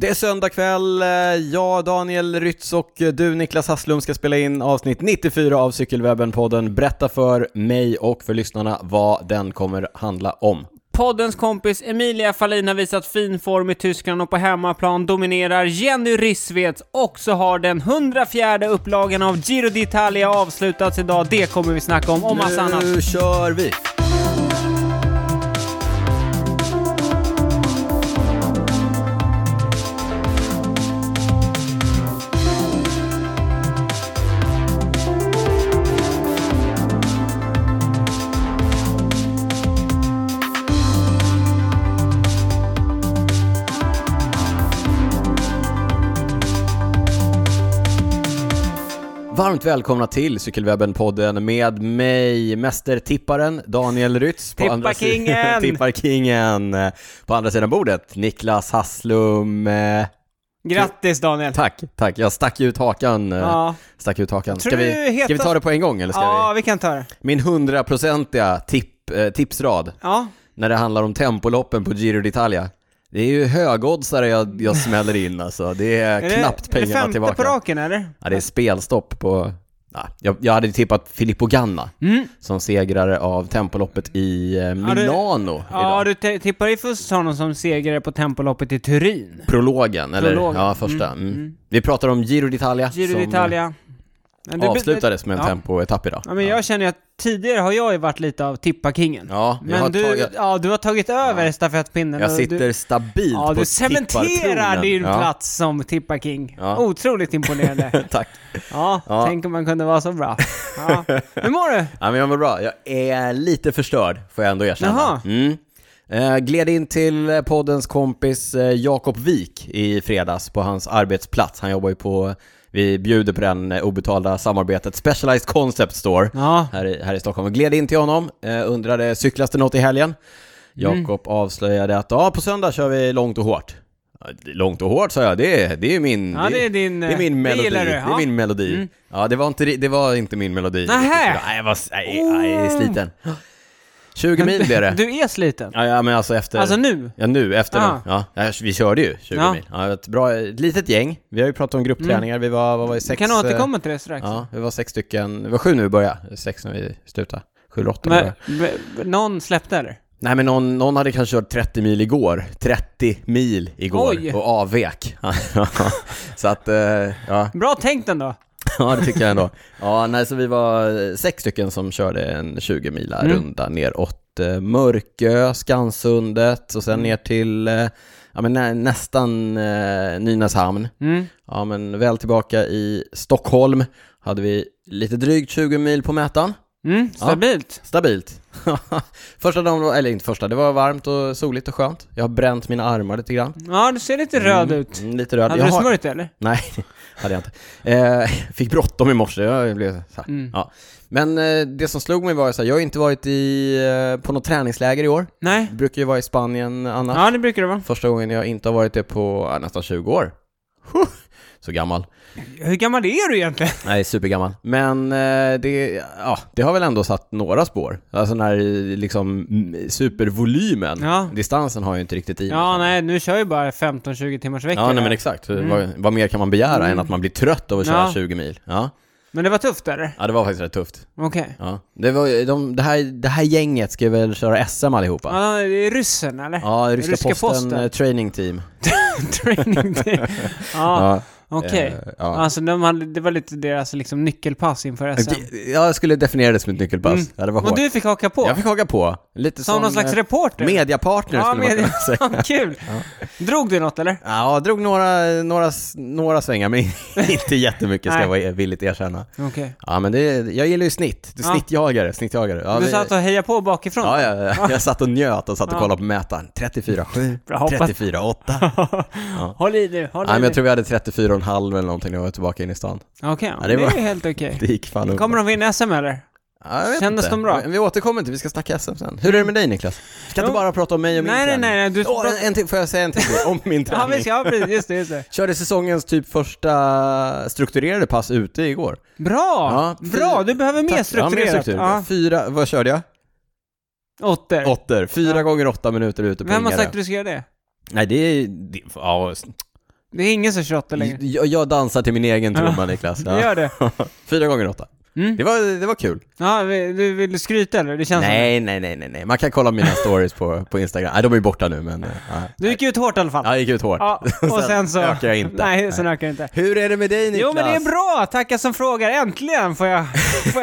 Det är söndag kväll. Jag, Daniel Rytz och du, Niklas Hasslum, ska spela in avsnitt 94 av Cykelwebben-podden. Berätta för mig och för lyssnarna vad den kommer handla om. Poddens kompis Emilia Fahlin har visat fin form i Tyskland och på hemmaplan dominerar Jenny Rissveds och så har den 104 upplagan av Giro d'Italia avslutats idag. Det kommer vi snacka om, om massa annat. Nu kör vi! Varmt välkomna till Cykelwebben-podden med mig, mästertipparen Daniel Rytz. på andra si- Tipparkingen! Tipparkingen! På andra sidan bordet, Niklas Hasslum. Eh, Grattis Daniel! Tack, tack. Jag stack ut hakan. eh, Ja, Stack ut hakan. Tror Ska du vi, heta- ska vi ta det på en gång eller ska ja vi kan ta det. vi? Min hundraprocentiga tipp, eh, tipsrad Ja, när det handlar om tempoloppen på Giro d'Italia. Det är ju högoddsare jag, jag smäller in alltså. Det är, är det, knappt är det pengarna femte tillbaka. på raken eller? Ja, det är spelstopp på... Ja, jag, jag hade tippat Filippo Ganna Mm. som segrare av tempoloppet i eh, Ja, det- Milano Ja, idag. du te- tippar ju först honom som segrare på tempoloppet i Turin. Prologen, eller? Prologen. Ja, första. Mm. mm. Vi pratar om Giro d'Italia Giro som d'Italia. Men det- avslutades med en ja. tempoetapp idag. Ja, men jag känner ju att tidigare har jag ju varit lite av tippakingen. Ja, jag har Men du, tagit- ja, du har tagit över stafettpinnen. Jag och sitter du, stabilt Ja, på du cementerar tippartronen. din Ja, plats som tippaking. Ja. Otroligt imponerande. Tack. Ja, Ja. tänk om man kunde vara så bra. Ja. Hur mår du? Ja, men jag mår bra. Jag är lite förstörd, får jag ändå erkänna. Jaha. Mm. Eh, gled in till eh, poddens kompis eh, Jakob Wik i fredags på hans arbetsplats. Han jobbar ju på, vi bjuder på den eh, obetalda samarbetet Specialized Concept Store Ja, här i, här i Stockholm. Och gled in till honom, eh, undrade cyklas det något i helgen? Jakob Mm. avslöjade att ja, på söndag kör vi långt och hårt. Ja, Långt och hårt sa jag, det är, det är min... ja det är din... Det är min melodi. gillar du. Det är Ja. Mm. min melodi. Ja, det var inte, ri- det var inte min melodi. Nähä. Oh. riktigt idag. Nej, jag var, nej, nej, jag är sliten. 20 mil blev det. Du är sliten. Ja, ja, men alltså efter... Alltså nu? Ja, nu efter Ah. den. Ja, ja, vi körde ju 20 Ja. mil. Ja, ett bra, ett litet gäng. Vi har ju pratat om gruppträningar. Vi var, vad var det, Vi sex... kan eh, återkomma till det strax. Ja, vi var sex stycken. Vi var sju när vi började. Sex när vi slutade. Sju eller åtta. när vi Men, började. men- någon släppte eller? Nej, men någon, någon hade kanske kört 30 mil igår. 30 mil igår. Oj. Och avvek. Så att, eh, ja. Bra tänkt ändå. Ja, det tycker jag ändå. Ja, nej, så vi var eh, sex stycken som körde en 20 mila Mm. runda neråt eh, Mörkö, Skansundet och Mm. sen ner till eh, ja, men nä, nästan eh, Nynäshamn. Mm. Ja, men väl tillbaka i Stockholm hade vi lite drygt 20 mil på mätaren. Mm, stabilt. Stabilt. första dagen, var, eller inte första, det var varmt och soligt och skönt. Jag har bränt mina armar lite grann. Ja, du ser lite röd ut. Mm, lite röd. Hade jag du har- smörjt det eller? Nej, hade jag inte. Eh, fick bråttom i morse. Jag blev så här. Mm. Ja. Men eh, det som slog mig var att jag har inte varit i, eh, på något träningsläger i år. Nej. Jag brukar ju vara i Spanien annars. Ja, det brukar det vara. Första gången jag inte har varit det på eh, nästan 20 år. Huh, Så gammal. Hur gammal är du egentligen? Nej, supergammal. Men eh, det, ja, det har väl ändå satt några spår. Alltså den här eh, liksom, mm, supervolymen. Ja. Distansen har jag ju inte riktigt i mig. Ja, nej, nu kör ju bara 15-20 timmars veckor. liksom. Ja, nej, men här. exakt. Vad, vad mer kan man begära än att man blir trött av att köra Mm. Ja. 20 mil? Ja. men det var tufft eller? ja, det var faktiskt rätt tufft. Okej. Ja. Det, var, de, det, här, det här gänget ska väl köra SM allihopa? Ja, det är ryssen eller? Ja, ryska, Ryska posten, posten. eh, training team. Training day. Ja, Ah, okej. Eh, ja. Alltså de hade, det var lite deras liksom, nyckelpass inför SM. Det- Jag skulle definiera det som ett nyckelpass. Mm. Ja, det var Och hårt. du fick haka på? Jag fick haka på. Lite som någon slags eh, reporter? mediapartner Ja, skulle man kunna media- säga. Ja, Kul! Drog du något eller? Ja, jag drog några, några, några svängar, men inte jättemycket ska jag Nej. vara e- villigt erkänna. Okej. Ja, men det, jag gillar ju snitt. Det är Ja. Snittjagare, snittjagare. Ja, du vi- satt och hejade på bakifrån? Ja, ja, ja, jag satt och njöt och satt och Ja. kollade på mätaren. 34,7, Bra hoppat. 34,8. Håll i nu, håll Nej, i men nu. jag tror vi hade 34,5 eller någonting när jag var tillbaka in i stan. Okej, Ja, det det, var- är ju helt okej. Det gick fan Kommer de vinna SM eller? Ja, jag vet Kändes inte. de bra? Mm. Vi återkommer till, vi ska snacka SM sen. Hur är det med dig Niklas? Vi kan inte Jo. bara prata om mig och min Nej, nej, träning. nej, nej, du- Åh, en, en till, får jag säga en till grej om min Ja, träning? visst, ja, precis. Just det, just det. Körde säsongens typ första strukturerade pass ute igår. Bra! Ja, Bra, du behöver mer Ja, mer strukturerat. struktur. Ja, Fyra, vad körde jag? Åttor. Åttor. Fyra Ja. gånger åtta minuter ute på Vem har Ingarö. sagt att du ska göra det? Nej, det är... Det, ja, Det är ingen som kör åtta längre. Jag, jag dansar till min egen trumma Niklas. Du gör det? Fyra gånger åtta. Mm. Det, var, det var kul. Ja, vi- du vill du skryta eller? Det känns som det. Nej, nej, nej, nej, nej. Man kan kolla mina stories på, på Instagram. Nej, de är ju borta nu men... eh, Ja. Du gick ut hårt i alla fall. Jag gick ut hårt. Ja, och sen så... ökar jag inte. Nej, sen ökar jag inte. Hur är det med dig Niklas? Jo men det är bra, tackar som frågar. Äntligen får jag, får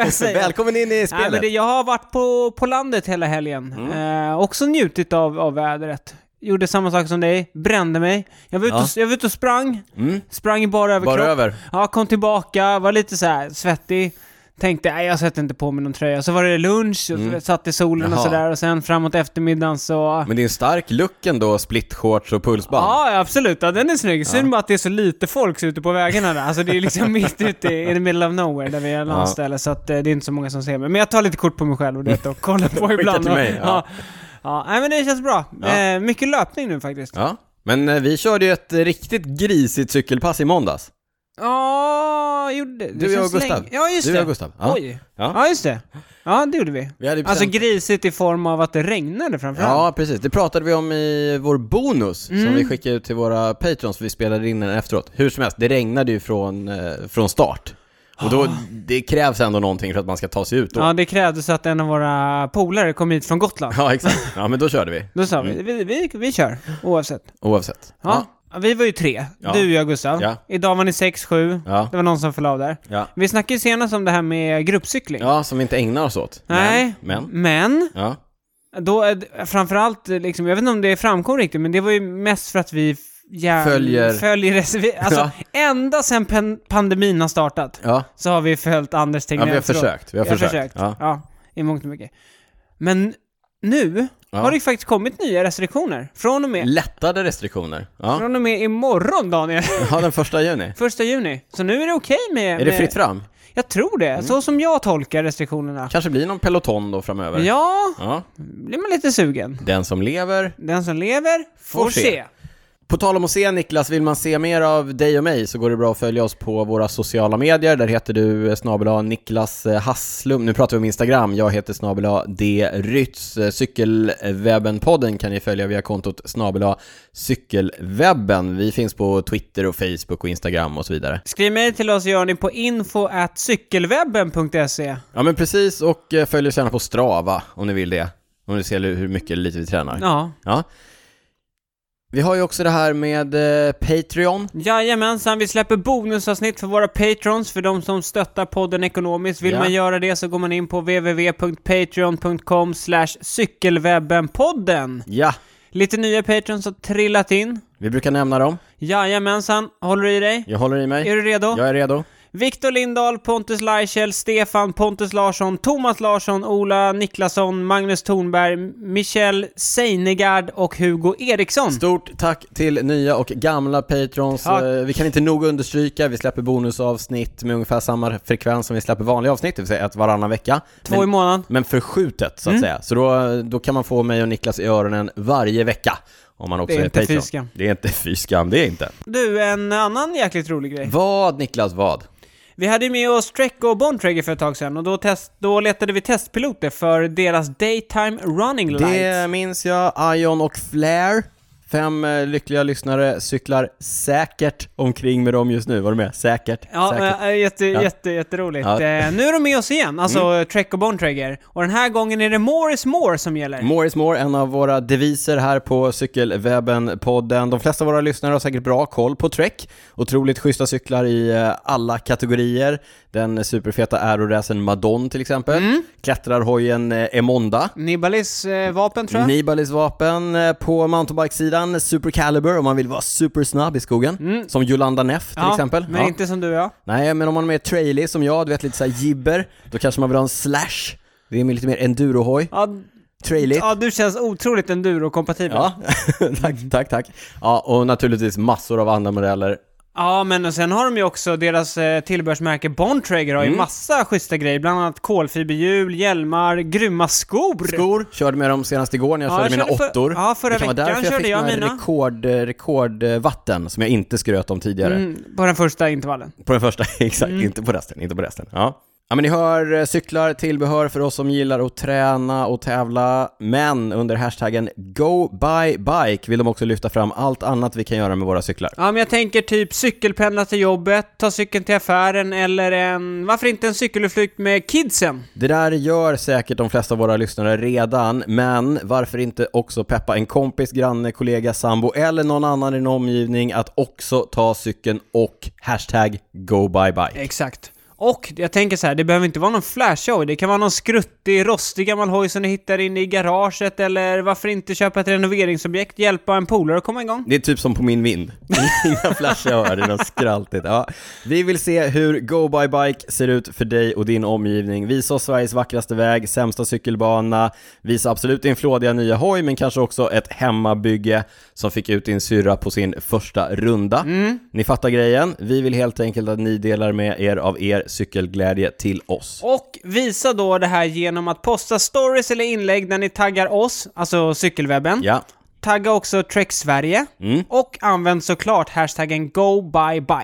jag säga. Välkommen in i Nej, spelet. men det, jag har varit på, på landet hela helgen. Mm. Eh, också njutit av, av vädret. Gjorde samma sak som dig, brände mig. Jag var ute, Ja. och, jag var ute och sprang. Mm. Sprang i bara överkropp. Bara över. Ja, kom tillbaka, var lite så här svettig. Tänkte, nej jag sätter inte på mig någon tröja. Så var det lunch, och så satt i solen Mm. och Jaha. sådär. Och sen framåt eftermiddagen så... Men det är en stark look ändå, splitshorts och pulsband. Ja, ja, absolut. Ja, den är snygg. Synd bara att det är så lite folk ute på vägarna där. Alltså det är liksom mitt ute i in the middle of nowhere där vi är landställe. Så att, eh, det är inte så många som ser mig. Men jag tar lite kort på mig själv och, det, och kollar på ibland. till mig, ja. ja. Ja. nej, men det känns bra. Ja. Eh, mycket löpning nu faktiskt. Ja, Ja. Men eh, vi körde ju ett eh, riktigt grisigt cykelpass i måndags. gjorde... det Du och jag känns och Gustav. länge- Ja, just Du och det. jag och Gustav. Ja. Oj. Ja. Ja. just det. Ja, det gjorde vi. Vi hade ju Alltså bestämt- grisigt i form av att det regnade framförallt. Ja, precis. Det pratade vi om i vår bonus Mm. som vi skickade ut till våra patrons, för vi spelade in den efteråt. Hur som helst, det regnade ju från, eh, från start. Och då, det krävs ändå någonting för att man ska ta sig ut då. Ah. Ja, det krävdes att en av våra polare kom hit från Gotland. Ja, Mm. exakt. Ja, men då körde vi, Då sa vi, vi, vi, vi kör, oavsett. oavsett. Ja. Vi var ju tre. Ja. Du, jag och Gustav. Ja. Idag var ni sex, sju. Ja. Det var någon som föll av där. Ja. Vi snackade ju senast om det här med gruppcykling. ja, som vi inte ägnar oss åt. Nej, Men, men. men Ja. då är det- framförallt, eh, liksom, jag vet inte om det framkom riktigt, men det var ju mest för att vi f- jävla- Följer. följer reservi- Alltså, ända sedan pen- pandemin har startat Ja. så har vi följt Anders ja, Tegnell. vi har försökt. Vi har försökt. Ja. Ja. i mångt och mycket. Men nu Ja. har det ju faktiskt kommit nya restriktioner. Från och med, Lättade restriktioner. Ja. från och med imorgon, Daniel. ja, den första juni. Första juni. Så nu är det okej med... Är det med, fritt fram? Mm. Jag tror det. Så som jag tolkar restriktionerna. Kanske blir någon peloton då framöver. Ja, Ja. blir man lite sugen. Den som lever. Den som lever får, Får se. se. På tal om att se Niklas, vill man se mer av dig och mig så går det bra att följa oss på våra sociala medier. Där heter du snabel Niklas eh, Hasslum. Nu pratar vi om Instagram. Jag heter snabel D. Rytz. Eh, Cykelwebben-podden kan ni följa via kontot snabel cykelwebben. Vi finns på Twitter och Facebook och Instagram och så vidare. Skriv mejl till oss gör ni på info at cykelwebben.se. Ja men precis, och eh, följ oss gärna på Strava om ni vill det. Om ni ser hur mycket eller lite vi tränar. Ja. Ja. Vi har ju också det här med eh, Patreon. Jajamensan, vi släpper bonusavsnitt för våra patrons, för de som stöttar podden ekonomiskt. Vill Ja. man göra det så går man in på www.patreon.com cykelwebbenpodden. Ja, Lite nya patrons har trillat in. vi brukar nämna dem. Jajamensan, håller du i dig? Jag håller i mig. Är du redo? Jag är redo. Viktor Lindahl, Pontus Laichel, Stefan, Pontus Larsson, Thomas Larsson, Ola Niklasson, Magnus Tornberg, Michel Seinegard och Hugo Eriksson. Stort tack till nya och gamla patrons. Tack. Eh, Vi kan inte nog understryka, vi släpper bonusavsnitt med ungefär samma frekvens som vi släpper vanliga avsnitt, det vill säga ett varannan vecka. Två i men, månaden. men förskjutet, Mm. så att säga. Så då, då kan man få mig och Niklas i öronen varje vecka. Om man också Det är är, inte Patreon. fy skam. Det är inte fy skam, det är inte. Du, en annan jäkligt rolig grej. Vad Niklas, vad? Vi hade ju med oss Trek och Bontrager för ett tag sedan och då, test, då letade vi testpiloter för deras Daytime Running Light. Det minns jag, Ion och Flair. Fem eh, lyckliga lyssnare cyklar säkert omkring med dem just nu, var du med? Säkert, Ja, säkert. äh, jätte, Jätte, jätteroligt. Ja. Mm. Eh, nu är de med oss igen, alltså Trek och Bontrager. Och den här gången är det More is More som gäller. More is more, en av våra deviser här på Cykelwebben-podden. De flesta av våra lyssnare har säkert bra koll på Trek. Otroligt schyssta cyklar i eh, alla kategorier. Den superfeta aeroracen Madon till exempel. Mm. Klättrarhojen eh, Emonda. Nibbalis eh, vapen tror jag. Nibalis vapen eh, på mountainbikesidan, Super Caliber om man vill vara supersnabb i skogen. Som Jolanda Neff till Mm. ja, exempel. Men Ja. inte som du och jag. Nej, men om man är mer trailig som jag, du vet lite såhär jibber, då kanske man vill ha en slash. Det är lite mer endurohoj. Ja, Trailigt. ja, du känns otroligt enduro-kompatibel. Ja. Ja, tack, Mm. tack, tack. Ja, och naturligtvis massor av andra modeller. men och sen har de ju också deras eh, tillbehörsmärke Bontrager har ju massa schyssta grejer, bland annat kolfiberhjul, hjälmar, grymma skor. Skor körde med dem senast igår när jag Ja, körde jag mina körde för- åttor. ja, förra det kan vara veckan därför jag körde fick jag några mina. rekord, eh, rekordvatten som jag inte skröt om tidigare. Mm, på den första intervallen. På den första, exakt. Inte på resten, inte på resten. Ja. Ja, men ni hör eh, cyklar, tillbehör för oss som gillar att träna och tävla. Men under hashtaggen GoBuyBike vill de också lyfta fram allt annat vi kan göra med våra cyklar. Ja, men jag tänker typ cykelpendla till jobbet, ta cykeln till affären eller en... Varför inte en cykelutflykt med kidsen? Det där gör säkert de flesta av våra lyssnare redan, men varför inte också peppa en kompis, granne, kollega, sambo eller någon annan i din omgivning att också ta cykeln och hashtag GoBuyBike. Exakt. Och jag tänker så här, det behöver inte vara någon flashig hoj. Det kan vara någon skruttig, rostig gammal hoj som du hittar inne i garaget eller varför inte köpa ett renoveringsobjekt, hjälpa en polare att komma igång? Det är typ som på min vind. Inga flashar, det är något skraltigt. Ja. Vi vill se hur Go By Bike ser ut för dig och din omgivning. Visa oss Sveriges vackraste väg, sämsta cykelbana, visa absolut din flådiga nya hoj, men kanske också ett hemmabygge som fick ut din syrra på sin första runda. Ni fattar grejen. Vi vill helt enkelt att ni delar med er av er cykelglädje till oss. Och visa då det här genom att posta stories eller inlägg där ni taggar oss, alltså cykelwebben. Ja. Tagga också Trek Sverige. Mm. Och använd såklart hashtaggen GoByBike.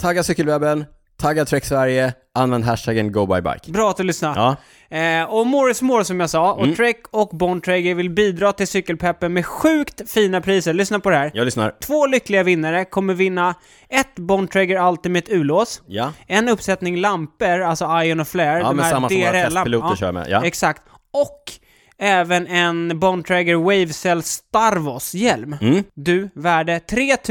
Tagga cykelwebben, tagga Trek Sverige, använd hashtaggen Go By Bike. Bra att du lyssnar. Ja. Mm. Eh, och More is more som jag sa, och Trek och Bontrager vill bidra till cykelpeppen med sjukt fina priser. Lyssna på det här. Jag lyssnar. Två lyckliga vinnare kommer vinna ett Bontrager Ultimate U-lås, Ja. en uppsättning lampor, alltså Ion och Flare, Ja, men samma som våra DRL-lamp- testpiloter kör med, ja. Exakt. Och även en Bontrager Wavecell Starvos-hjälm. Mm. Du, värde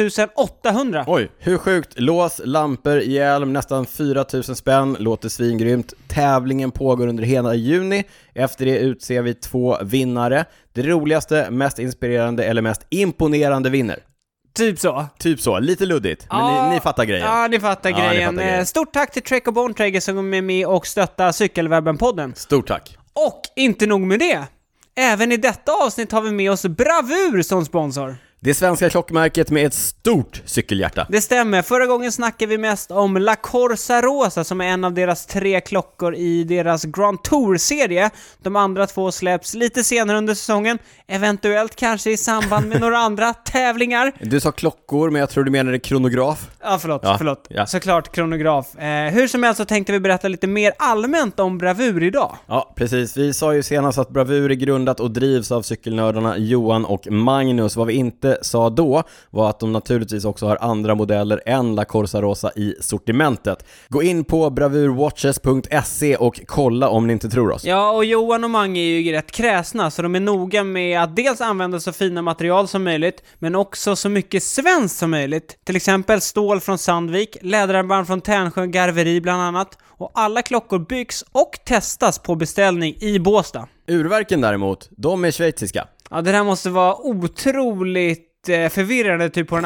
3800. Oj, hur sjukt? Lås, lampor, hjälm, nästan 4000 spänn, låter svingrymt. Tävlingen pågår under hela juni. Efter det utser vi två vinnare. Det roligaste, mest inspirerande eller mest imponerande vinner. Typ så. Typ så, lite luddigt, men Ja. ni, ni fattar grejen. Ja, ni fattar Ja, ni grejen. fattar grejen. Eh, Stort tack till Trek och Bontrager som är med och stöttar Cykelwebben-podden. Stort tack. Och inte nog med det. Även i detta avsnitt har vi med oss Bravur som sponsor. Det svenska klockmärket med ett stort cykelhjärta. Det stämmer, förra gången snackade vi mest om La Corsa Rosa som är en av deras tre klockor i deras Grand Tour-serie. De andra två släpps lite senare under säsongen, eventuellt kanske i samband med några andra tävlingar. Du sa klockor, men jag tror du menade kronograf. Ja, förlåt, Ja, förlåt. ja. Såklart kronograf. Eh, hur som helst så tänkte vi berätta lite mer allmänt om Bravur idag. Ja, precis. Vi sa ju senast att Bravur är grundat och drivs av cykelnördarna Johan och Magnus. Vad vi inte sa då var att de naturligtvis också har andra modeller än La Corsa Rosa i sortimentet. Gå in på bravurwatches.se och kolla om ni inte tror oss. Ja, och Johan och Mange är ju rätt kräsna, så de är noga med att dels använda så fina material som möjligt, men också så mycket svenskt som möjligt. Till exempel stål från Sandvik, läderarmband från Tärnsjö Garveri bland annat. Och alla klockor byggs och testas på beställning i Båstad. Urverken däremot, de är schweiziska. Ja, det där måste vara otroligt eh, förvirrande typ på den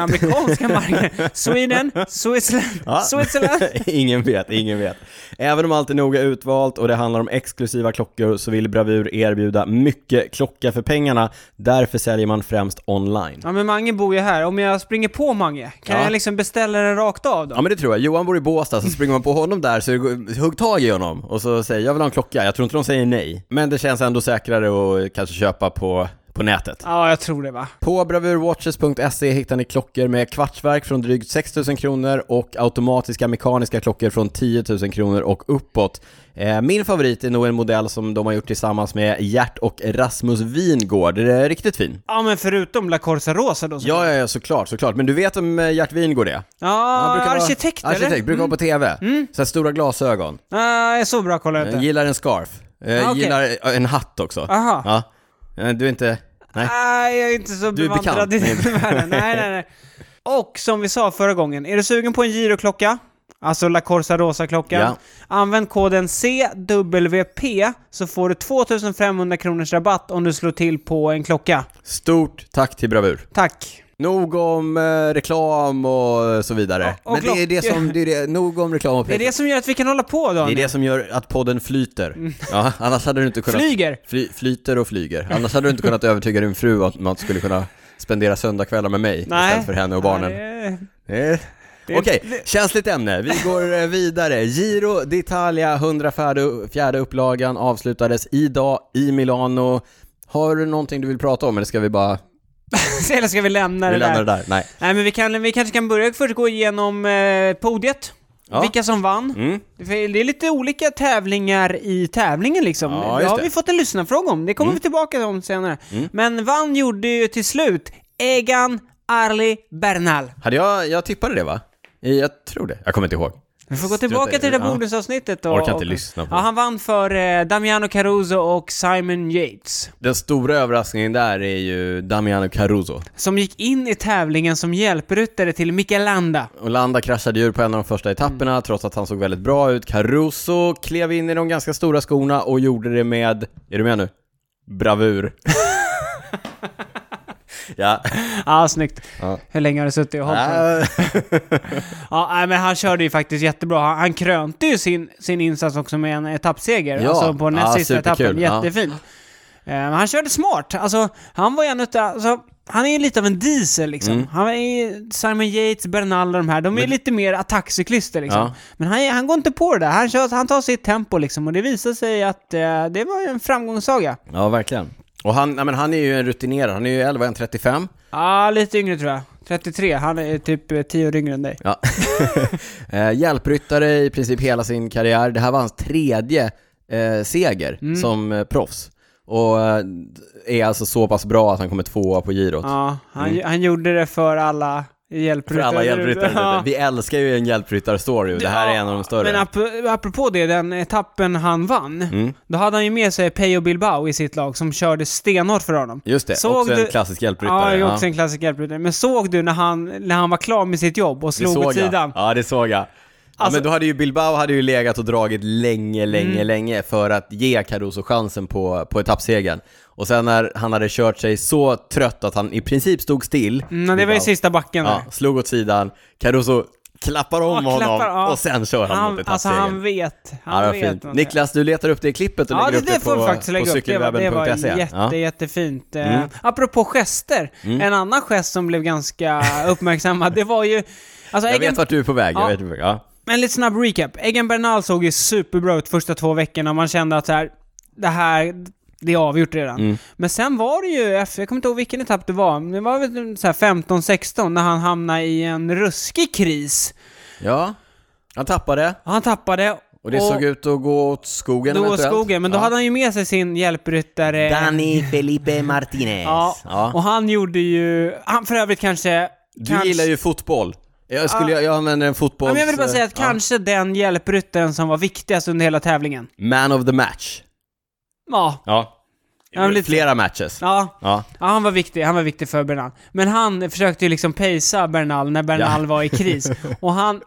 amerikanska marknaden. Sweden, Switzerland, Ja. Switzerland. ingen vet, ingen vet. Även om allt är noga utvalt och det handlar om exklusiva klockor så vill Bravur erbjuda mycket klocka för pengarna. Därför säljer man främst online. Ja men Mange bor ju här, om jag springer på Mange, kan Ja. jag liksom beställa den rakt av då? Ja men det tror jag. Johan bor i Båstad, så springer man på honom där så går- hugg tag i honom och så säger jag vill ha en klocka. Jag tror inte de säger nej. Men det känns ändå säkrare att kanske köpa på, på nätet. Ja, jag tror det va. På bravurwatches.se hittar ni klockor med kvartsverk från drygt 6 000 kronor och automatiska mekaniska klockor från 10 000 kronor och uppåt. Eh, Min favorit är nog en modell som de har gjort tillsammans med Gert och Rasmus Wingård. Den är riktigt fin. Ja men förutom La Corsa Rosa då så. Ja, ja, ja, såklart, såklart. Men du vet om eh, Gert Wingård är? Han ja brukar vara- arkitekt eller? Mm. Arkitekt, brukar vara på TV. Så här stora glasögon. Nej, så bra kollar jag Jag inte. gillar en scarf. Jag Ah, okej. gillar en hatt också. Aha. Ja. Eh, Du är inte... Nej. Nej, jag är inte så Du är bevandrad i den bekant världen. Nej, nej, nej. Och som vi sa förra gången, är du sugen på en giroklocka? Alltså La Corsa Rosa-klockan. Ja. Använd koden CWP så får du 2500 kronors rabatt om du slår till på en klocka. Stort tack till Bravur. Tack! Nog om eh, reklam och så vidare. och Men det är det klockor. som... Det är det, nog om reklam och Det är pek. det som gör att vi kan hålla på Det är Daniel. det som gör att podden flyter. Ja, annars hade du inte kunnat... Flyger! Fly, flyter och flyger. Annars hade du inte kunnat övertyga din fru att man skulle kunna spendera söndagskvällar med mig istället för henne och barnen. Nej, det- Eh. Okej, känsligt ämne. Vi går eh, vidare. Giro d'Italia, 104 upplagan avslutades idag i Milano. Har du någonting du vill prata om eller ska vi bara... Eller ska vi lämna Vi det lämnar där? det där. Nej. Nej men vi, kan, vi kanske kan börja först gå igenom eh, podiet. Ja. Vilka som vann. Mm. Det är det är lite olika tävlingar i tävlingen liksom. Ja, det just har det. Mm. vi fått en lyssnarfråga om. Det kommer vi tillbaka om senare. Men vann gjorde ju till slut Egan Arli Bernal. Hade jag, jag tippade det va? Jag tror det. Jag kommer inte ihåg. Vi får gå Strunta tillbaka i till det där Ja. bonusavsnittet. Och, Orkar inte och, lyssna på Ja, det. han vann för eh, Damiano Caruso och Simon Yates. Den stora överraskningen där är ju Damiano Caruso. Som gick in i tävlingen som hjälpryttare till Michelanda. Olanda kraschade ur på en av de första etapperna trots att han såg väldigt bra ut. Caruso klev in i de ganska stora skorna och gjorde det med, är du med nu? Bravur. ja. Ja, snyggt. Ja. Hur länge har du suttit och hållit på? Äh, Ja, nej, men han körde ju faktiskt jättebra. Han, han krönte ju sin, sin insats också med en etappseger, Ja. alltså på näst Ja, sista superkul. etappen. Ja. Jättefint. Eh, men han körde smart. Alltså, han var ju en utav, alltså, han är ju lite av en diesel liksom. Han är ju Simon Yates, Bernal och de här, de är lite mer attackcyklister liksom. Ja. Men han, är- han går inte på det där. Han, kör, han tar sitt tempo liksom och det visar sig att eh, det var ju en framgångssaga. ja, verkligen. Och han, nej, men han är ju en rutinerad, han är ju 11, 35. Ja, lite yngre tror jag. 33, han är typ eh, 10 år yngre än dig. Ja. eh, hjälpryttare i princip hela sin karriär. Det här var hans tredje eh, seger som eh, proffs. Och eh, är alltså så pass bra att han kommer tvåa på girot. Ja, han, han gjorde det för alla Mm. För hjälpryttare. alla där hjälpryttare. ute. Ja. Vi älskar ju en hjälpryttarstory och det här är en av de större. Men ap- apropå det, den etappen han vann, Mm. då hade han ju med sig Peyo Bilbao i sitt lag som körde stenhårt för honom. Just det, Såg också du- en klassisk Ja, hjälpryttare. jag är också en klassisk hjälpryttare. Men såg du när han, när han var klar med sitt jobb och det slog åt såg jag. sidan? Ja, det såg jag. Ja, Alltså- Mm. men då hade ju Bilbao hade ju legat och dragit länge, länge, länge för att ge Caruso chansen på, på etappsegern. Och sen när han hade kört sig så trött att han i princip stod still. Mm, det var ju Bilbao, sista backen där. Ja, slog åt sidan. Caruso klappar om Ja, honom klappar, ja. och sen kör han, mot Alltså etappsegern. han vet. Han ja, det var vet fint. vad han gör. Niklas, du letar upp det klippet och Ja, det, lägger det upp det får vi på, faktiskt lägga på upp. Det var, det var cykelwebben.se. jätte, E. Ja. Mm. jättefint. Mm. Apropå gester, en annan gest som blev ganska uppmärksammad, det var ju... Alltså, Jag Egan, vet vart du är på väg. Ja. Jag vet, vart- ja. En lite snabb recap. Egan Bernal såg ju superbra ut första två veckorna och man kände att så här, det här, det är avgjort redan. Mm. Men sen var det ju, efter- jag kommer inte ihåg vilken etapp det var, men det var väl så här 15-16 när han hamnade i en ruskig kris. ja, han tappade. Han tappade Och det såg ut att gå åt skogen då eventuellt. skogen, men då ja. hade han ju med sig sin hjälpryttare. Dani Felipe Martinez. Ja. Ja. och han gjorde ju... Han för övrigt kanske... Du kanske, gillar ju fotboll. Jag, skulle, jag, jag använder en Ja, fotbolls... men jag vill bara säga att ja. kanske den hjälpryttaren som var viktigast under hela tävlingen. Man of the match. Ja, Ja. Ja, men lite- Flera matches. ja. Ja. Ja, han var viktig, han var viktig för Bernal. Men han försökte ju liksom pacea Bernal när Bernal Ja. var i kris. Och han...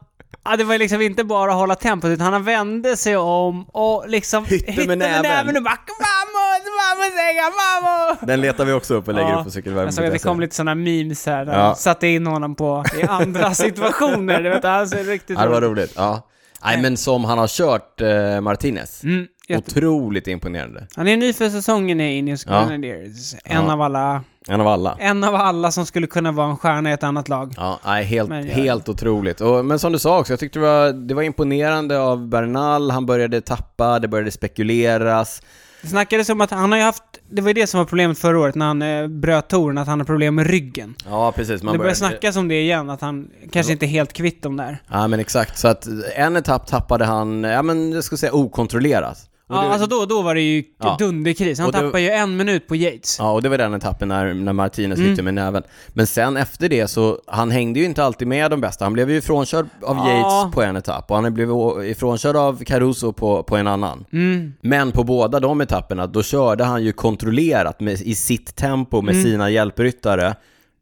Ja, det var ju liksom inte bara att hålla tempot, utan han vände sig om och liksom... Hytte med näven. och bara “Vamos, vamos, Egan, vamos!” Den letar vi också upp och lägger Ja. upp på cykelvärmen. Jag såg att det kom lite sådana memes här, där Ja. de satte in honom på, i andra situationer. Du vet, han ser riktigt Ja, det var roligt. roligt. Ja. Nej, men som han har kört eh, Martinez. Mm, jätte- Otroligt imponerande. han är ny för säsongen i Ineos Ja. Grenadiers. En, Ja. av alla, En av alla. en av alla som skulle kunna vara en stjärna i ett annat lag. Ja, nej, helt, Men jag- helt otroligt. Och, men som du sa också, jag tyckte det var, det var imponerande av Bernal. Han började tappa, det började spekuleras. Det snackades om att han har ju haft, det var ju det som var problemet förra året när han eh, bröt touren, att han har problem med ryggen. Ja, precis. Man det börjar snackas om det igen, att han kanske inte är helt kvitt dem där. Ja, men exakt. Så att en etapp tappade han, ja men jag skulle säga okontrollerat. Och Ja, det, alltså då, då var det ju Ja. dunderkris. Han Och det- tappar ju en minut på Yates. ja, och det var den etappen när, när Martinez Mm. hytte med näven. Men sen efter det så, han hängde ju inte alltid med de bästa. Han blev ju ifrånkörd av Ja. Yates på en etapp och han blev å- ifrånkörd av Caruso på, på en annan. Mm. Men på båda de etapperna, då körde han ju kontrollerat med, i sitt tempo med Mm. sina hjälpryttare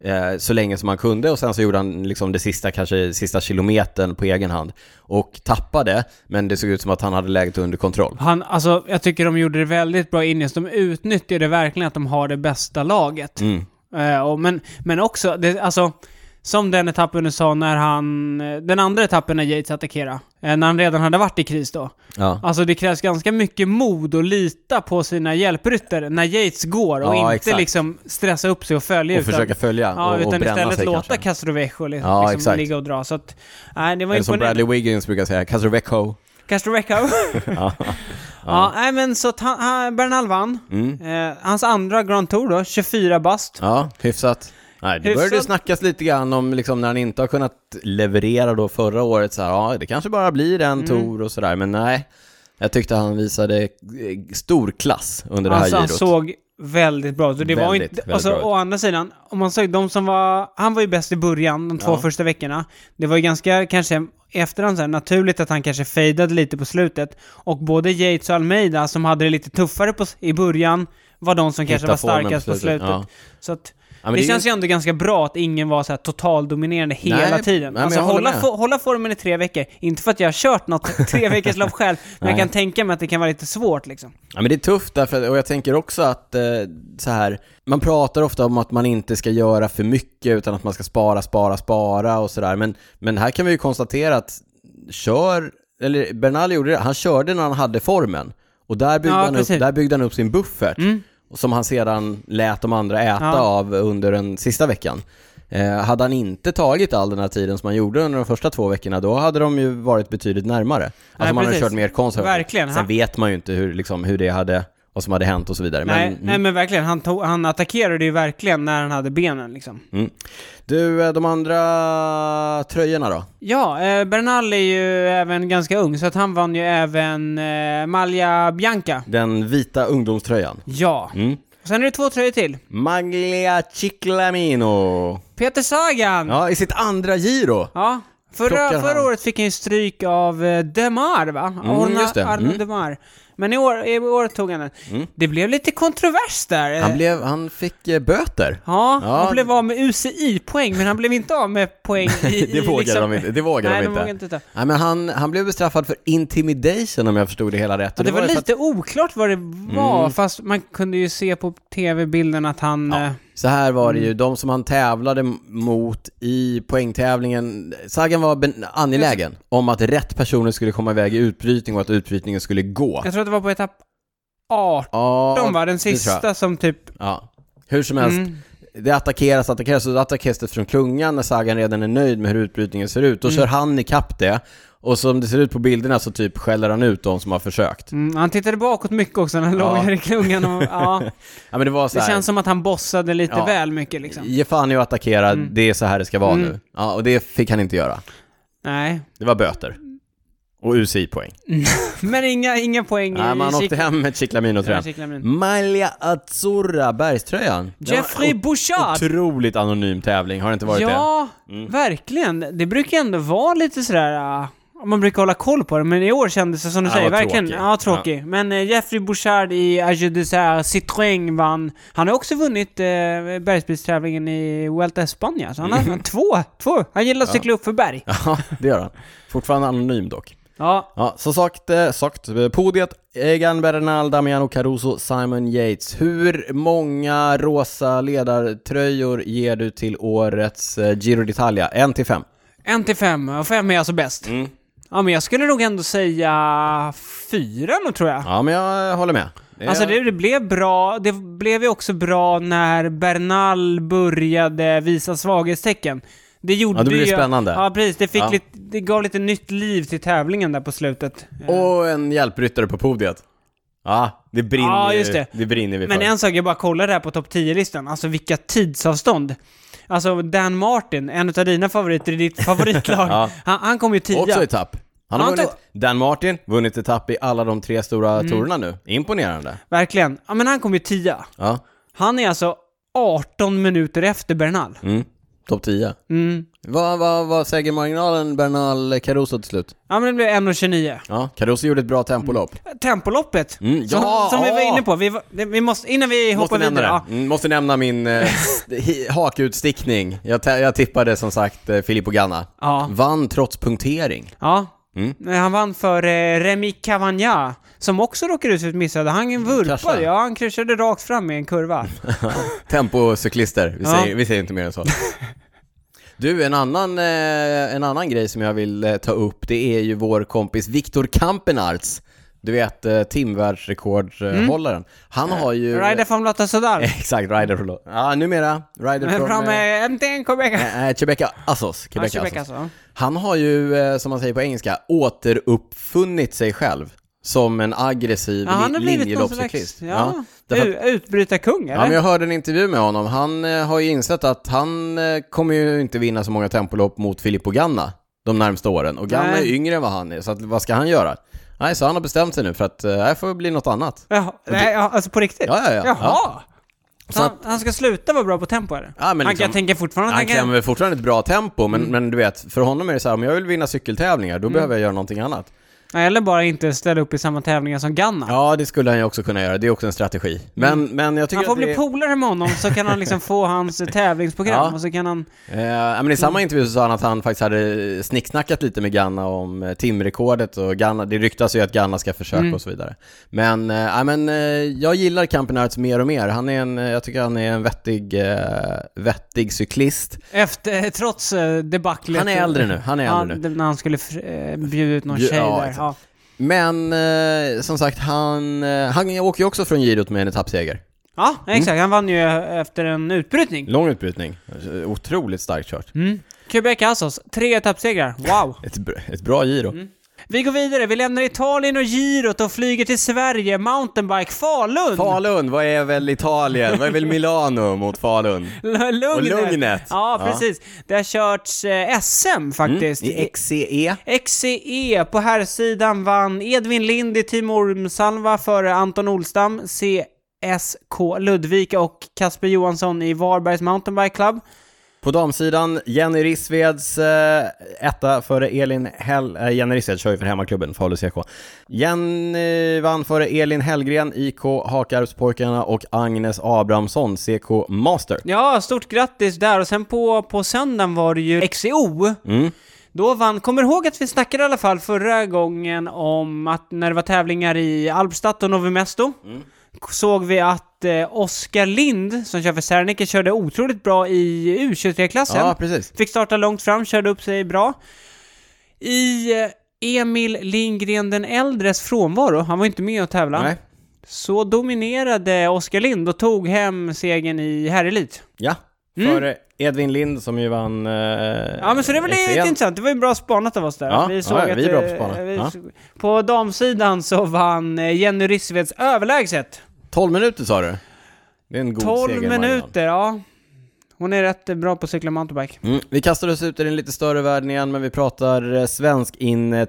eh, så länge som han kunde och sen så gjorde han liksom det sista, kanske sista kilometern på egen hand och tappade, men det såg ut som att han hade läget under kontroll. Han, alltså, jag tycker de gjorde det väldigt bra Ineos. De utnyttjade verkligen att de har det bästa laget. Mm. Eh, och, men, men också, det, alltså, som den etappen du sa när han... eh, Den andra etappen när Yates attackerade, eh, när han redan hade varit i kris då. Ja. Alltså det krävs ganska mycket mod att lita på sina hjälpryttare när Yates går och Ja, inte exakt. liksom stressa upp sig och följa Och försöka följa ja, och, och utan bränna istället sig låta kanske. Castrovejo liksom, Ja, liksom exakt. ligga och dra. Så att, nej, det var Eller som imponerande. Bradley Wiggins brukar säga, Castroveco. Castrovejo. Ja. Ja, nej men så att han, han, Bernal vann. Eh, hans andra Grand Tour då, 24 bast. ja, hyfsat. Nej, det började Hyfsat- snackas lite grann om liksom när han inte har kunnat leverera då förra året så här, ja det kanske bara blir Mm. en tour och sådär, men nej. Jag tyckte han visade eh, stor klass under det här Alltså han girot. såg väldigt bra ut. Och Det var Väldigt, inte, väldigt alltså, bra ut. å andra sidan, om man såg de som var... Han var ju bäst i början, de två Ja. första veckorna. Det var ju ganska, kanske i efterhand så här, naturligt att han kanske fejdade lite på slutet. Och både Yates och Almeida, som hade det lite tuffare på, s- i början, var de som kanske Hitta var formen på starkast på slutet, slutet. ja. Så att, Ja, men det, det är känns ju ändå ganska bra att ingen var så här totaldominerande hela Nej, nej, tiden. men alltså jag håller hålla, med. fo- hålla formen i tre veckor. Inte för att jag har kört något tre veckors lopp själv, men jag Nej. kan tänka mig att det kan vara lite svårt liksom. Ja men det är tufft därför, och jag tänker också att eh, så här, man pratar ofta om att man inte ska göra för mycket utan att man ska spara, spara, spara och sådär. Men, men här kan vi ju konstatera att kör, eller Bernal gjorde det, han körde när han hade formen. Och där byggde, Ja, han, upp, precis. Mm. där byggde han upp sin buffert. och Som han sedan lät de andra äta Ja. av under den sista veckan. Eh, hade han inte tagit all den här tiden som han gjorde under de första två veckorna, då hade de ju varit betydligt närmare. Alltså Nej, man hade precis. kört mer konservativt. Verkligen. Sen vet man ju inte hur, liksom, hur det hade, vad som hade hänt och så vidare. Nej, men, nej men verkligen. Han, tog, han attackerade ju verkligen när han hade benen liksom. Mm. Du, eh, de andra tröjorna då? Ja, eh, Bernal är ju även ganska ung, så att han vann ju även eh, Malia Bianca. Den vita ungdomströjan. Ja. Mm. Och sen är det två tröjor till. Maglia Ciclamino. Peter Sagan! Ja. Ja, i sitt andra giro. Plockar Förra, han. förra året fick han ju stryk av eh, Demar, va? Orna- just det. Arnaud Mm. Demar. Men i år, i år tog han den. Det blev lite kontrovers där. eh. Han, blev, han fick eh, böter. Ja, Ja. han blev av med UCI-poäng, men han blev inte av med poäng i... i Det vågade liksom... de inte. Det vågade Nej, de de inte. vågade inte ta. Nej, men han, han blev bestraffad för intimidation om jag förstod det hela rätt. Ja, Och det, var, ju för Mm. att- lite oklart vad det var, fast man kunde ju se på tv-bilden att han... eh, Så här var det ju, de som han tävlade mot i poängtävlingen, Sagan var ben- angelägen om att rätt personer skulle komma iväg i utbrytning och att utbrytningen skulle gå. Jag tror att det var på etapp 18, Ja, var Mm. det tror den jag. alltså- sista som typ... Ja. Hur som helst, det attackeras, attackeras och då attackeras det från klungan när Sagan redan är nöjd med hur utbrytningen ser ut. Då Mm. kör han ikapp det och som det ser ut på bilderna så typ skäller han ut de som har försökt. Mm, han tittade bakåt mycket också när han Ja. låg här i klungan och, ja, Ja men det var så Det här, känns som att han bossade lite Ja. väl mycket liksom. Mm. ge fan i att attackera, det är så här det ska vara nu. Ja, och det fick han inte göra. Nej. Det var böter. Och UCI-poäng. Men inga, inga poäng Nej, i man åkte Chic- hem med Chiclamino-tröjan. Nej, Chiclamino. Malia Azzurra, bergströjan. Det var Jeffrey en Bouchard! Otroligt anonym tävling, har det inte varit det? Ja, verkligen. Det brukar ju ändå vara lite sådär... äh, man brukar hålla koll på det, men i år kändes det som du Ja, säger, vad verkligen tråkig. ja, tråkig. Men eh, Jeffrey Bouchard i Agile Dessert, Citroën vann. Han har också vunnit eh, bergsbilstävlingen i Vuelta Espana. Så han har två, två. Han gillar att cykla upp för berg. Mm. Ja. Ja, det gör han. Fortfarande anonym dock. Ja, så sagt, eh, sagt eh, podiet, Egan Bernal, Damiano Caruso, Simon Yates. Hur många rosa ledartröjor ger du till årets eh, Giro d'Italia? En till fem? En till fem, och fem är alltså bäst. Ja, men jag skulle nog ändå säga fyra nog tror jag. Ja, men jag eh, håller med. Det är- Alltså det, det blev bra, det blev ju också bra när Bernal började visa svaghetstecken. Det gjorde Ja, då blir det ju- spännande. Ja, precis. Det, fick Ja. Lite, det gav lite nytt liv till tävlingen där på slutet. Och en hjälpryttare på podiet. Ja, det brinner, Ja, ju- just det. det brinner vi för. Men en sak, jag bara kollade här på topp 10-listan, alltså vilka tidsavstånd. Alltså Dan Martin, en av dina favoriter i ditt favoritlag, Ja. han, han kom ju Också tia. etapp. Han har Han tog- Mm. vunnit Dan Martin, vunnit etapp i alla de tre stora tourerna nu. Imponerande. Verkligen. Ja, men han kom ju tia. Ja. Han är alltså 18 minuter efter Bernal. Mm. Topp 10. Mm. Vad var, var segermarginalen Bernal Caruso till slut? Ja, men det blev 1.29. Ja, Caruso gjorde ett bra tempolopp. Tempoloppet, Mm, ja, som, som vi var ja. inne på. Vi, var- vi måste, innan vi hoppar Måste nämna, vidare. det. Ja. Mm, måste nämna min eh, hi- hakutstickning. Jag, ta- jag tippade som sagt eh, Filippo Ganna. Ja. Vann trots punktering. ja. Mm. Men Han vann för eh, Remy Cavagna, som också råkade ut för ett missöde. Mm, Han vurpade, kraschade. ja, han kraschade rakt fram i en kurva. Tempocyklister, vi, Ja. säger, vi säger inte mer än så. Du, en annan, eh, en annan grej som jag vill eh, ta upp, det är ju vår kompis Viktor Kampenarts. Du vet, eh, timvärldsrekordhållaren. Han har ju... Mm. Ryder från Lotta Sodal. Exakt, Rider från... Ja, numera. Rider eh, från... Fram med MTN Quebec. eh, eh, Quebec Assos. Quebec Quebec Assos. alltså. Han har ju, eh, som man säger på engelska, återuppfunnit sig själv. som en aggressiv Ja, han li- har blivit någon slags linjeloppscyklist. ja, därför att- u- utbrytarkung eller? Ja, men jag hörde en intervju med honom. Han eh, har ju insett att han eh, kommer ju inte vinna så många tempolopp mot Filippo Ganna de närmsta åren. Och Ganna Nej. är yngre än vad han är, så att, vad ska han göra? Nej, så han har bestämt sig nu för att eh, det här får bli något annat. Jaha, nej, ja, alltså på riktigt? Ja, ja, ja. Jaha! Ja. Så Så han, han ska sluta vara bra på tempo eller? Ja, men han, liksom- jag tänker fortfarande att Han han klämmer kan... Mm. väl fortfarande ett bra tempo, men, men du vet, för honom är det så här, om jag vill vinna cykeltävlingar, då behöver jag göra någonting annat. Nej, Eller bara inte ställa upp i samma tävlingar som Ganna. Ja, det skulle han ju också kunna göra. Det är också en strategi. Men, men jag tycker Mm. Han får att det... bli polare med honom så kan han liksom få hans eh, tävlingsprogram Ja. och så kan han... Eh, ja, men I samma intervju så sa han att han faktiskt hade snicksnackat lite med Ganna om eh, timrekordet och Ganna, det ryktas ju att Ganna ska försöka och så vidare. Men, eh, ja, men eh, jag gillar Campenarts mer och mer. Han är en, eh, jag tycker han är en vettig, eh, vettig cyklist. Efter, trots eh, debaclet... Han är äldre nu, han är Ja, äldre nu. det- när han skulle fr- eh, bjuda ut någon Ja, tjej där. exakt. Ja. Men eh, som sagt, han, eh, han åker ju också från girot med en etappseger. ja, Mm. exakt. Han vann ju eh, efter en utbrytning. Lång utbrytning, Eh, otroligt starkt kört. Mm. Quebec Assos, tre etappsegrar. Wow! Ett, br- ett bra giro. Vi går vidare, vi lämnar Italien och girot och flyger till Sverige, mountainbike, Falun! Falun, vad är väl Italien? Vad är väl Milano mot Falun? L- Lugnet. Och Lugnet. Ja, Ja. Mm. precis. Det har körts eh, SM faktiskt. I XCE. XCE E på här sidan vann Edvin Lind i Team Ormsalva före Anton Olstam, CSK Ludvika och Kasper Johansson i Varbergs Mountainbike Club. På damsidan, Jenny Rissveds eh, etta före Elin Hell... Eh, Jenny Rissved kör ju för hemmaklubben Falu CK. Jenny vann före Elin Hellgren, IK Hakarpspojkarna och Agnes Abrahamsson, CK Master. Ja, stort grattis där. Och sen på, på söndagen var det ju XCO. Mm. Då vann, kommer du ihåg att vi snackade i alla fall förra gången om att när det var tävlingar i Albstadt och Novi Mesto Mm. såg vi att eh, Oskar Lind som kör för Serneke körde otroligt bra i U23-klassen. Ja, precis. Fick starta långt fram, körde upp sig bra. I eh, Emil Lindgren den äldres frånvaro, han var inte med och tävlade, Nej. så dominerade Oskar Lind och tog hem segern i herrelit. Ja. Före Edvin Lind som ju vann... Eh, E ja, Mm. Ja men så det var lite intressant, det var ju bra spanat av oss där. Ja, ja, vi är bra på spanat. eh, vi- Ja. På damsidan så vann eh, Jenny Rissveds överlägset. 12 minuter sa du? Det är en god 12 seger, Marianne. minuter, ja. Hon är rätt eh, bra på att cykla mountainbike. Mm. Vi kastar oss ut i den lite större världen igen, men vi pratar eh,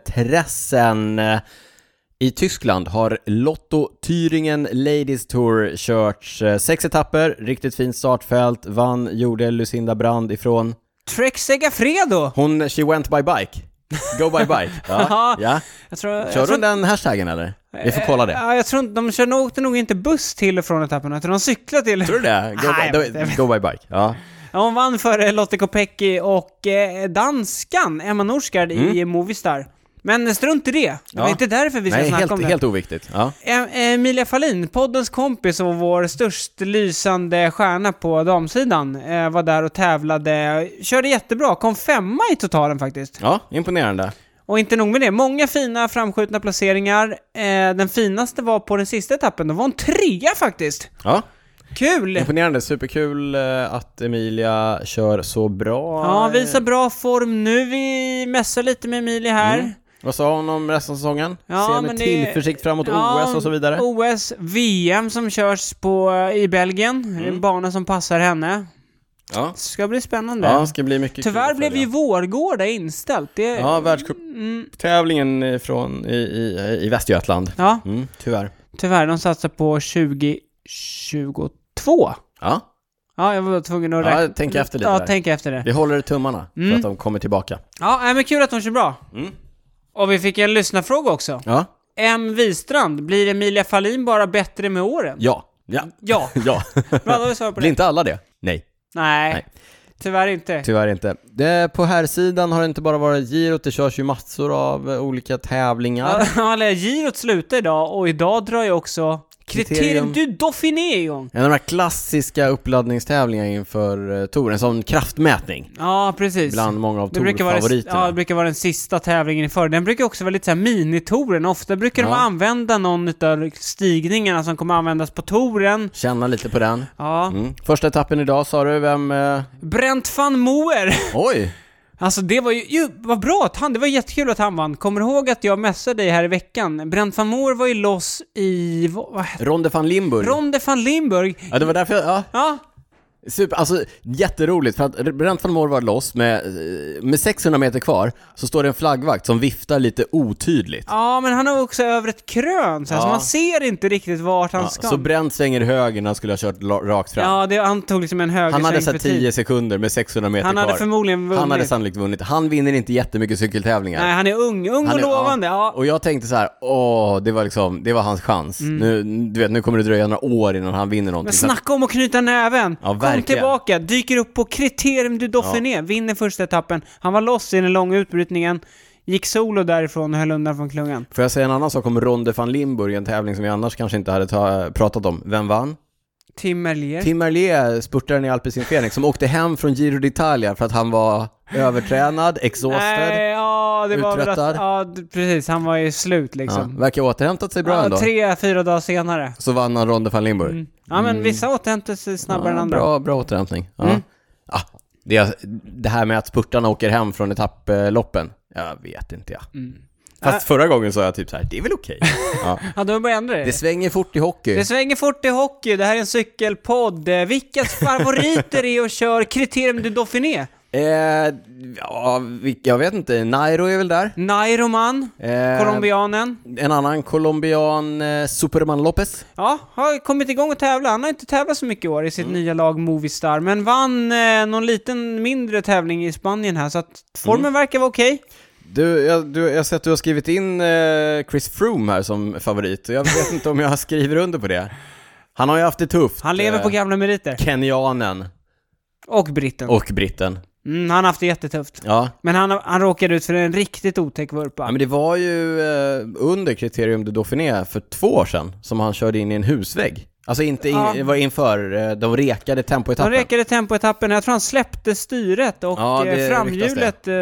svenskintressen. Eh, I Tyskland har Lotto Thüringen Ladies Tour körts eh, sex etapper, riktigt fint startfält, vann, gjorde Lucinda Brand ifrån... Trek Segafredo! Hon, she went by bike. Go by bike. Ja, ja. Jag tror, jag Kör tror, hon den hashtaggen eller? Vi får kolla det. Ja, jag tror inte, de kör nog, åkte nog inte buss till och från etapperna, utan de cyklade till. Tror du det? Go, Nej, jag vet by, inte. go by bike. Ja. Ja, Hon vann före Lotte Kopecky och eh, danskan Emma Norsgaard i Movistar. Men strunt i det, det var Mm. Ja. inte därför vi ska Nej, snacka helt, om det. helt oviktigt. Ja. Em- Emilia Fahlin, poddens kompis och vår störst lysande stjärna på damsidan, eh, var där och tävlade. Körde jättebra, kom femma i totalen faktiskt. ja, imponerande. Och inte nog med det, många fina framskjutna placeringar. Eh, den finaste var på den sista etappen, då var hon trea faktiskt. Ja. Kul! Imponerande, superkul eh, att Emilia kör så bra. Ja, visar eh, bra form nu. Vi mässar lite med Emilia här. Mm, Vad sa hon om resten av säsongen? Ja, Ser med men det- tillförsikt framåt Ja, OS och så vidare. OS, VM som körs på, eh, i Belgien. Mm. En bana som passar henne. Ja. Ska bli spännande. ja, det ska bli mycket kul Tyvärr att blev följa. ju Vårgårda inställt. Det, ja. Ja, Mm. världscuptävlingen ifrån i, i, i Västergötland. Mm, tyvärr. tyvärr. De satsar på 2022. Ja, Ja, jag var tvungen att Ja, räkna. tänk efter lite Ja, där. tänk Mm. efter det. vi håller tummarna för att de kommer tillbaka. Ja, nej, men kul att hon kör bra. Mm. Och vi fick en lyssnarfråga också. Ja, M. Wistrand, blir Emilia Fahlin bara bättre med åren? ja, ja, Ja, ja. bra då har vi svarat på Blir det. inte alla det? Nej. Nej, Nej. tyvärr inte. Tyvärr inte. Det, på här sidan har det inte bara varit girot, det körs ju massor av eh, olika tävlingar. Ja, eller girot slutar idag och idag drar jag också Kriterium Kriterium. du Dauphiné igång. En av de här klassiska uppladdningstävlingarna inför eh, touren, som kraftmätning. Ja, precis. Bland många av Det brukar, vara, ja, det Tour-favoriterna. brukar vara den sista tävlingen i förr. Den brukar också vara lite såhär minitouren. Ofta brukar de Ja. använda någon utav stigningarna som kommer användas på touren. Känna lite på den. Ja. Mm. Första etappen idag sa du, vem... Eh... Brent van Moer! Oj! Alltså det var ju, ju vad bra att han, det var jättekul att han vann. Kommer du ihåg att jag messade dig här i veckan? Brent van Moor var ju loss i, vad, vad hette Ronde van Limburg. Ronde van Limburg. ja, det var därför jag, ja, Ja, Super, alltså jätteroligt för att Brent van Moor var loss med, eh, med 600 meter kvar så står det en flaggvakt som viftar lite otydligt. ja men han har också över ett krön så, här, så Ja. man ser inte riktigt vart han Ja, ska. så Brent svänger höger när han skulle ha kört la- rakt fram. ja, det, han tog liksom en högersväng han hade så här för tid. 10 sekunder med 600 meter Han kvar. hade förmodligen vunnit. Han hade sannolikt vunnit. Han vinner inte jättemycket cykeltävlingar. Nej, han är ung, ung Han och är- lovande. Ja. Och jag tänkte så här, åh, det var liksom, det var hans chans. Nu, du vet, nu kommer det dröja några år innan han vinner någonting. Mm. Men snacka om att knyta näven! liksom. Ja, Kom verkligen. tillbaka, dyker upp på kriterium du doffar Ja. ner, vinner första etappen. Han var loss i den långa utbrytningen, gick solo därifrån och höll undan från klungan. Får jag säga en annan sak om Ronde van Limburg, en tävling som vi annars kanske inte hade ta- pratat om. Vem vann? Tim Merlier. Tim Merlier, spurtaren i Alpecin Fenix, som åkte hem från Giro d'Italia för att han var övertränad, exhausted. Nej, Eh, ja, det var väl att, Uttröttad. ja, d- precis. Han var ju slut Ja, liksom. verkar ha återhämtat sig bra Ja, ändå. tre, Mm. fyra dagar senare. Så vann han Ronde van Limburg. Ja, men vissa återhämtade sig snabbare Mm. än Ja, andra. Mm. bra, bra återhämtning. Ja. Ah, det, det här med att spurtarna åker hem från etapploppen, jag vet inte jag. Mm. Fast Äh. förra gången sa jag typ så här, det är väl okej. ja. Ja, då började ändra Det det. svänger fort i hockey. Det svänger fort i hockey, det här är en cykelpodd. Eh, Vilkas favoriter är och kör kriterium du Dauphiné? Eh, ja, vi- jag vet inte, Nairo är väl där? Nairoman, Eh, colombianen. En annan colombian, eh, Superman Lopez. Ja, har kommit igång och tävla. Han har inte tävlat så mycket i år i Mm. sitt nya lag Movistar, men vann eh, någon liten mindre tävling i Spanien här, så att formen Mm. verkar vara okej. Du, jag, du, jag har sett att du har skrivit in eh, Chris Froome här som favorit och jag vet inte om jag skriver under på det. Han har ju haft det tufft. Han lever på eh, gamla meriter. Kenyanen Och britten. och britten. Mm, han har haft det jättetufft. Ja. Men han, han råkade ut för en riktigt otäck vurpa. ja, men det var ju eh, under Criterium du Dauphiné för två år sedan som han körde in i en husvägg. Alltså inte in, Ja. det var inför, eh, de rekade De tempoetappen. räkade tempoetappen, jag tror han släppte styret och Ja, eh, det framhjulet, eh,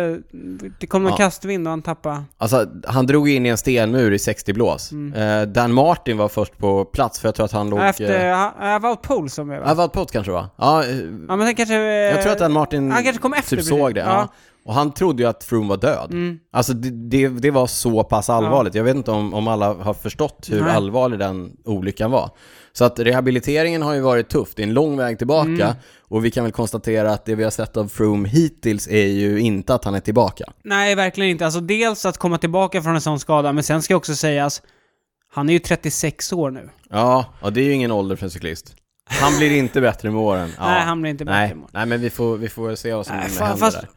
det kom någon Ja. kastvind och han tappade. Alltså, han drog in i en stenmur i 60 blås. Mm. Eh, Dan Martin var först på plats för jag tror att han låg... Efter, Eh, han- han var Pole som jag var. Avaldpot kanske det var? Ja, eh, Ja men sen kanske... eh, Jag tror att Dan Martin han kanske kom efter typ precis. såg det. Ja. Ja. Mm. Och han trodde ju att Froome var död. Alltså det, det, det var så pass allvarligt. Jag vet inte om, om alla har förstått hur Nej. allvarlig den olyckan var. Så att rehabiliteringen har ju varit tuff. Det är en lång väg tillbaka Mm. och vi kan väl konstatera att det vi har sett av Froome hittills är ju inte att han är tillbaka. Nej, verkligen inte. Alltså dels att komma tillbaka från en sån skada, men sen ska också sägas, han är ju 36 år nu. Ja, och det är ju ingen ålder för en cyklist. Han blir inte bättre med åren. Ja. Nej, han blir inte bättre Nej. med åren. Nej, men vi får, vi får se vad som Nej, fan, händer fast- där.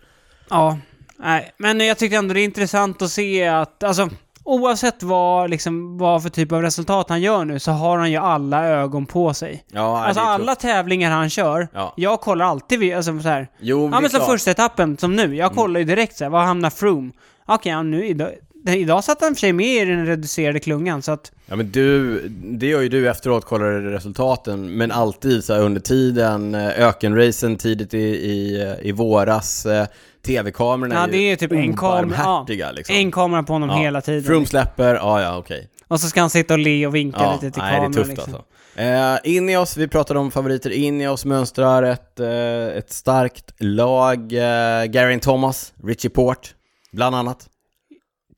Ja. Nej, men jag tyckte ändå det är intressant att se att, alltså, oavsett vad, liksom, vad för typ av resultat han gör nu, så har han ju alla ögon på sig. Ja, nej, alltså det är alla tävlingar han kör, Ja. jag kollar alltid vid, alltså så här. Jo, men det ja är men som klart. Mm. första etappen, som nu, jag kollar ju direkt så här, var hamnar Froome? Okej, ja, nu idag, idag satt han i och för sig med i den reducerade klungan, så att Ja men du, det gör ju du efteråt, kollar resultaten, men alltid så här under tiden, eh, ökenracen tidigt i, i, i våras, eh, tv-kamerorna Ja, det är typ en kamera. Ja, obarmhärtiga liksom. En kamera på honom Ja. hela tiden. Froome släpper, ja ja okej. Och så ska han sitta och le och vinka Ja, lite till nej, det är kameran. tufft liksom. alltså. Eh, in i oss, vi pratade om favoriter, in i oss mönstrar ett, eh, ett starkt lag, eh, Garin Thomas, Richie Port, bland annat.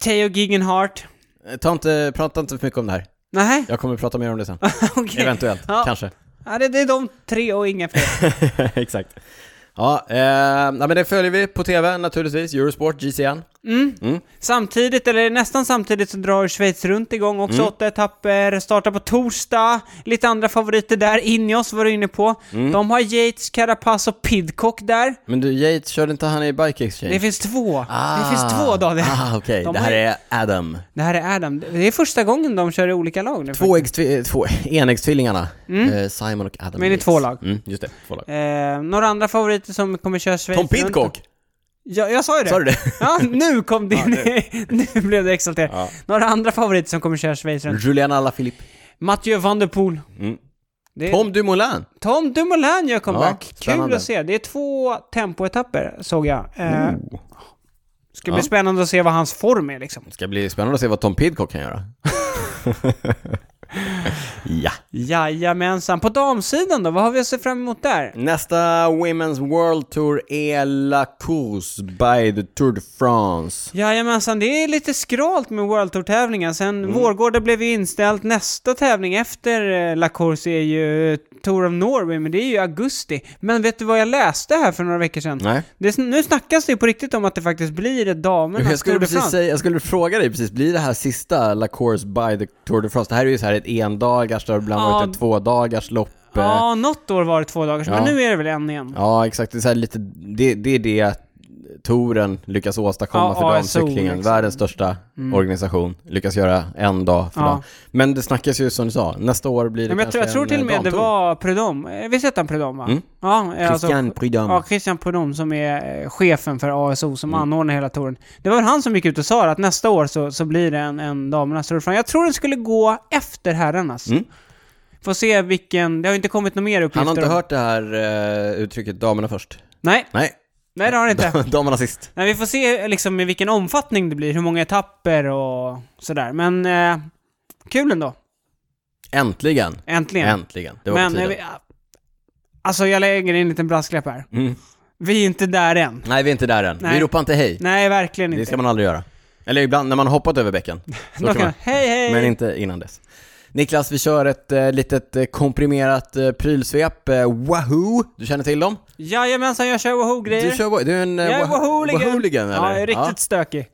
Theo Giggenhart. Eh, Ta inte, prata inte för mycket om det här, Nej, jag kommer prata mer om det sen, okej. eventuellt, Ja. kanske. Ja, det, det är de tre och inga fler. Exakt. Ja, eh, nej, men det följer vi på TV naturligtvis, Eurosport, GCN. Samtidigt, eller nästan samtidigt, så drar Schweiz runt igång också. Mm. Åtta etapper, startar på torsdag. Lite andra favoriter där. Ineos var du inne på. Mm. De har Yates, Carapaz och Pidcock där. Men du, Yates, körde inte han i Bike Exchange? Det finns två. Det finns två Daniel. Ah, okej. De Det har- här är Adam. Det här är Adam. Det är första gången de kör i olika lag nu. Tvåäggstvi- två, enäggstvillingarna, eh, Simon och Adam Mm. Men det är Yates. två lag. Mm, just det, två lag. Eh, några andra favoriter som kommer köra Schweiz Tom runt. Pidcock, Ja, jag sa ju det. sa du det? Ja, nu kom din... nu. blev du exalterad. Ja. Några andra favoriter som kommer köra Schweiz runt. Julian Alaphilippe. Mathieu van der Poel. Mm. Det är Tom Dumoulin. Tom Dumoulin gör comeback. Kul spännande. att se. Det är två tempoetapper, såg jag. Eh, ska bli Oh. Ja. spännande att se vad hans form är liksom. Det ska bli spännande att se vad Tom Pidcock kan göra. Ja. Jajamensan. På damsidan då? Vad har vi att se fram emot där? Nästa Women's World Tour är La Course by the Tour de France. Jajamensan, det är lite skralt med World Tour-tävlingen. Sen Mm. Vårgårda blev ju inställt. Nästa tävling efter eh, La Course är ju eh, Tour of Norway, men det är ju i augusti. Men vet du vad jag läste här för några veckor sedan? Nej. Det, sn- nu snackas det ju på riktigt om att det faktiskt blir ett damernas Jag skulle, Tour de precis France. säga, jag skulle fråga dig precis, blir det här sista La Course by the Tour de France, det här är ju så här ett endagars, det har ibland Ja. varit ett tvådagars lopp. eh. Ja, något år var det två dagar men Ja. nu är det väl en igen. ja exakt, det är, så här lite, det, det är det touren lyckas åstadkomma Ja, för ASO, damcyklingen. liksom. Världens största organisation lyckas göra en dag för Ja. dag. Men det snackas ju som du sa, nästa år blir det Ja, men jag, kanske tror, jag tror en, till och eh, med det damtour. var Prudhomme, Eh, visst hette han Prudhomme va? Mm. Ja, eh, alltså, Christian Prydhomme. ja, Christian Prudhomme som är eh, chefen för ASO Mm. som anordnar hela touren. Det var väl han som gick ut och sa att nästa år så, så blir det en, en damernas Tour de France. Jag tror den skulle gå efter herrarnas. Mm. Får se vilken, det har ju inte kommit några mer uppgifter Han har inte om- hört det här eh, uttrycket damerna först? Nej, Nej, nej det har han inte. damerna sist. Nej, vi får se liksom i vilken omfattning det blir, hur många etapper och sådär. Men eh, kul ändå. Äntligen. Äntligen. Äntligen. Det var Men... på eh, tiden. vi, alltså jag lägger in en liten brasklapp här. Mm. Vi är inte där än. Nej, vi är inte där än. Nej. Vi ropar inte hej. Nej, verkligen Det inte. ska man aldrig göra. Eller ibland när man har hoppat över bäcken. Då Då kan man. Hej, hej! Men inte innan dess. Niklas, vi kör ett eh, litet eh, komprimerat eh, prylsvep. Eh, wahoo! Du känner till dem? Jajamensan, jag kör Wahoo-grejer. Du, kör, wa- du är en eh, Jag är wa- Wahoo-ligan. Wahoo-ligan, eller? Ja, jag är riktigt stökig.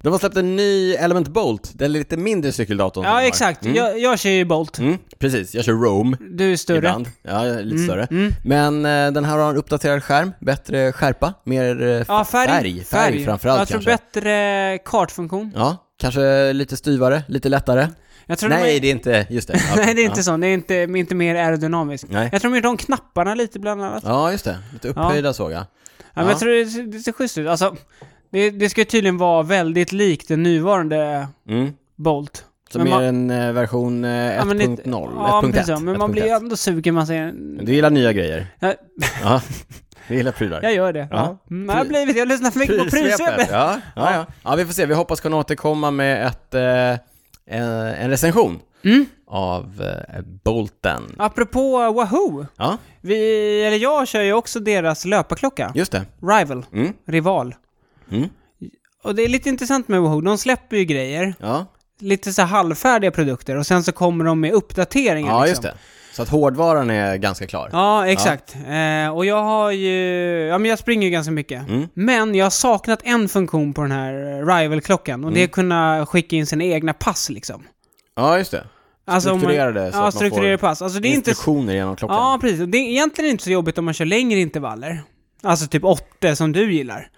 De har släppt en ny Element Bolt, den lite mindre cykeldatorn. som de Ja, har. exakt. Jag, jag kör ju Bolt. Mm, precis, jag kör Roam. Du är större. Mm, Ibland. Ja, lite större. Men eh, den här har en uppdaterad skärm, bättre skärpa, mer eh, Ja, färg. färg, färg framförallt Jag tror kanske. bättre kartfunktion. Ja, kanske lite styvare, lite lättare. Jag tror Nej, de det är inte, just det. Ja, Nej, det är ja. inte sån. Det är inte, inte mer aerodynamiskt. Nej. Jag tror de gjorde om knapparna lite bland annat. Ja, Ja, just det. Lite upphöjda såg jag. men jag tror det, ser- det ser schysst ut. Alltså, det, det ska ju tydligen vara väldigt likt den nuvarande Mm. Bolt. Som Men är man- en eh, version eh, 1.0, Ja, men lite- 1.1. Ja, men precis. Men man blir ju 1.1. ändå sugen. Man säger... Men Du gillar nya grejer. Ja, Ja, du gillar prylar. Jag gör det. Ja. Ja. Mm, jag, har blivit, jag lyssnar för mycket på Prylsvepet. prylsvepet. Ja, ja, ja. ja, vi får se. Vi hoppas kunna återkomma med ett, eh, en, en recension Mm. av eh, Bolten. Apropå Wahoo. Ja, Vi, eller jag kör ju också deras löparklocka. just det. Rival. Mm. Rival. Mm. Och det är lite intressant med Wahoo. De släpper ju grejer. Ja, Lite så här halvfärdiga produkter. Och sen så kommer de med uppdateringar. ja liksom. just det. Så att hårdvaran är ganska klar. Ja, exakt. Eh, och jag har ju... Ja, men jag springer ju ganska mycket. Mm. Men jag har saknat en funktion på den här Rival-klockan. Och det är Mm. att kunna skicka in sina egna pass liksom. Alltså, Ja, just det. om Strukturerade så ja, att man får strukturerade pass. Alltså det är inte... Instruktioner genom klockan. Ja, precis. Och Det är egentligen inte så jobbigt om man kör längre intervaller. Alltså typ 8 som du gillar.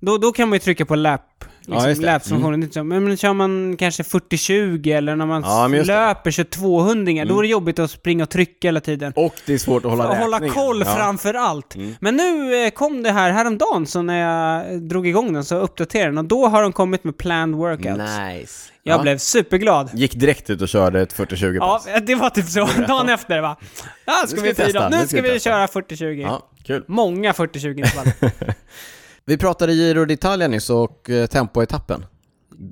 Då, då kan man ju trycka på lap, liksom, just det. Mm. lap-funktionen. Det är inte så- Men, men kör man kanske 40-20 eller när man Ja, men just det. Mm. löper 2200 då är det jobbigt att springa och trycka hela tiden. Och det är svårt att hålla Och hålla räkningen. koll Ja. Mm. framför allt. Men nu eh, kom det här häromdagen, så när jag eh, drog igång den så uppdaterade den. Och då har de kommit med planned workouts. Nice. Jag Ja. blev superglad. Gick direkt ut och körde ett 40-20 Ja, pass. det var typ så. Dagen efter va. Ja, ska ska vi vi testa. fira. Nu Nu ska ska vi vi testa. köra 40-20. Ja, kul. Många 40-20 intervaller. Vi pratade Giro d'Italia nyss och eh, tempoetappen.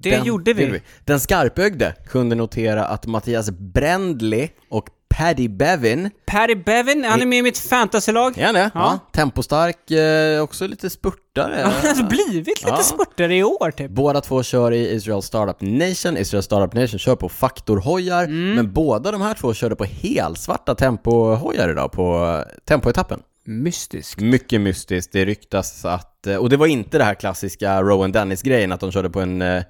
Det gjorde vi. Den skarpögde kunde notera att Mattias Brändli och Paddy Bevin, Paddy Bevin, han är med i mitt fantasylag. är han det? Ja. Tempostark, eh, också lite spurtare. Han har blivit lite Ja. spurtare i år typ. Båda två kör i Israel Startup Nation. Israel Startup Nation kör på faktorhojar, men båda de här två körde på helsvarta tempohojar idag på eh, tempoetappen. Mystisk. Mycket mystiskt. Det ryktas att, eh, och det var inte det här klassiska Rowan Dennis-grejen, att de körde på en eh,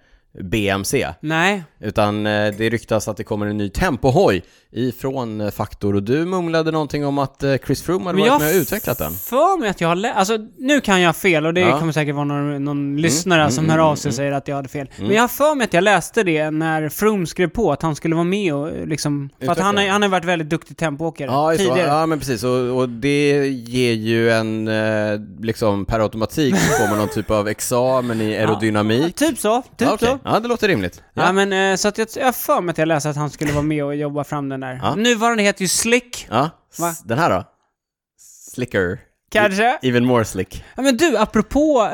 BMC. Nej. Utan eh, det ryktas att det kommer en ny tempohoj ifrån eh, Faktor och du mumlade någonting om att eh, Chris Froome hade Men jag varit har med och utvecklat den. för mig att jag har lä- Alltså nu kan jag ha fel och det Ja. Mm. kommer säkert vara någon, någon lyssnare som hör av sig och säger att jag hade fel. Men jag har för mig att jag läste det när Froome skrev på att han skulle vara med och eh, liksom... För att Utveckla han, har- den. han har varit väldigt duktig tempoåkare Ja, just, det. tidigare. ja, men precis. Och, och det ger ju en, eh, liksom per automatik så får man någon typ av examen i aerodynamik. Typ så, typ Ja, okej. så. ja det låter rimligt. Ja. Ja, men eh, så att jag, jag har för mig att jag läste att han skulle vara med och jobba fram den där. Ja. Nuvarande heter ju Slick, ja. Va? S- Den här då? Slicker. kanske? Even more slick. Ja men du, apropå eh,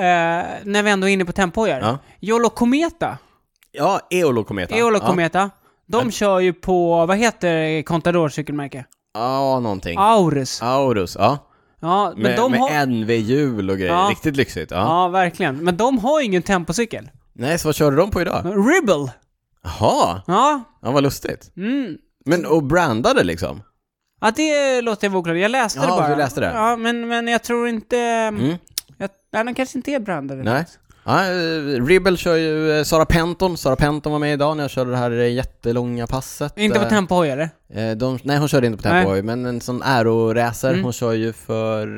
när vi ändå är inne på tempojar. Ja. Jolo Kometa, Ja, Eolo Kometa. Eolo Kometa, De kör ju på, vad heter Contador cykelmärke? Ja, någonting. Aurus. Aurus, ja. Ja, men Med, de med har... NV-hjul och grejer. Ja. Riktigt lyxigt. Ja. Ja, verkligen. Men de har ingen tempocykel. Nej, så vad körde de på idag? Ribble! Jaha, Ja. ja, vad lustigt. Mm. Men och brandade liksom? Ja, det låter jag vara oklart. Jag läste Ja, det bara. du läste det. Mm. Ja, men, men jag tror inte... Jag, nej, de kanske inte är brandade. Nej. Ja, eh, Ribble kör ju eh, Sara Penton. Sara Penton var med idag när jag körde det här eh, jättelånga passet. Inte på Eh, tempohoj eller? eh, de, Nej, hon körde inte på Nej. Mm. Tempo Hoy, men en sån aeroracer. Hon kör ju för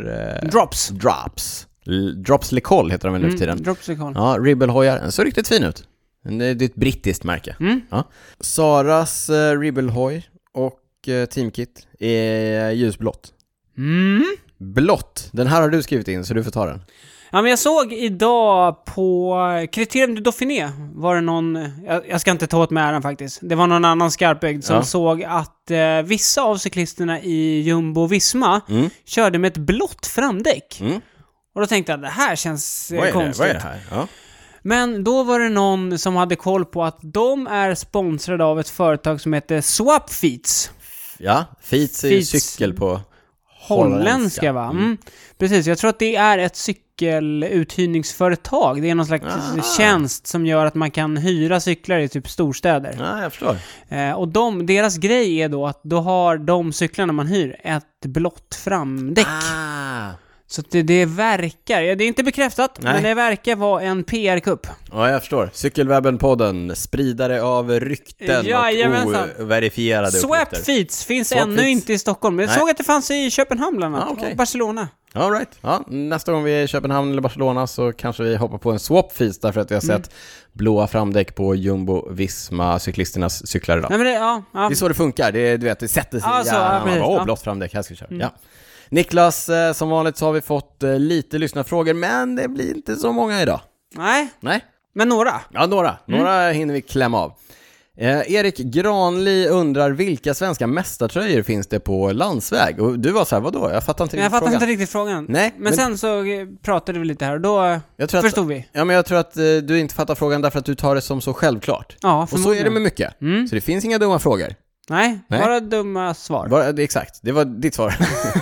eh, Drops. Drops. Drops. L- Drops Lecol heter de väl nu för tiden. Drops är kvar. Ja, Ribbelhojar. Den såg riktigt fin ut. Den är- Det är ett brittiskt märke. Mm. Ja. Saras eh, Ribbelhoj och eh, Teamkit är ljusblått. Mm. Blått! Den här har du skrivit in, så du får ta den. Ja, men jag såg idag på eh, Criterium du Dauphiné var det någon, jag, jag ska inte ta åt mig äran faktiskt, det var någon annan skarpögd som Ja. såg att eh, vissa av cyklisterna i Jumbo Visma Mm. körde med ett blått framdäck. Mm. Och då tänkte jag det här känns eh, Vad är det? konstigt. Vad är det här? Ja. Men då var det någon som hade koll på att de är sponsrade av ett företag som heter Swapfeets. Ja, Feats är ju Feats. cykel på Holländska va? Mm. Precis, jag tror att det är ett cykeluthyrningsföretag. Det är någon slags Ah. tjänst som gör att man kan hyra cyklar i typ storstäder. Ja, jag förstår. Eh, och de, deras grej är då att då har de cyklarna man hyr ett blått framdäck. Ah. Så att det, det verkar, ja, det är inte bekräftat, Nej. men det verkar vara en PR-kupp. Ja, jag förstår. Cykelwebben-podden, spridare av rykten Jajamensan. och overifierade Swap uppgifter. Feats finns Swap ännu Feats. inte i Stockholm, men jag Nej. såg att det fanns i Köpenhamn bland annat, Ah, okej. och Barcelona. All right. ja, nästa gång vi är i Köpenhamn eller Barcelona så kanske vi hoppar på en swapfeast därför att vi har sett Mm. blåa framdäck på Jumbo Visma cyklisternas cyklar idag. Nej men det, ja, ja. Det är så det funkar, det, är- du vet, det sätter sig Ja, så, i ja, hjärnan. Man precis, bara, Åh, ja. Mm. blått framdäck, här ska vi köra. Ja. Niklas, eh, som vanligt så har vi fått eh, lite lyssnarfrågor, men det blir inte så många idag. Nej, Nej, men några. Ja, några. Mm. Några hinner vi klämma av. Eh, Erik Granli undrar vilka svenska mästartröjor finns det på landsväg? Och du var så här, vadå? Jag fattar inte Men jag riktigt fattar frågan. inte riktigt frågan. Nej, men, men- sen så eh, pratade vi lite här och då eh, Jag tror att- förstod vi. Ja, men jag tror att eh, du inte fattar frågan därför att du tar det som så självklart. Ja, Och så är det förmodligen. Mm. med mycket. Så det finns inga dumma frågor. Nej, Nej. bara dumma svar. Bara, det- exakt, det var ditt svar.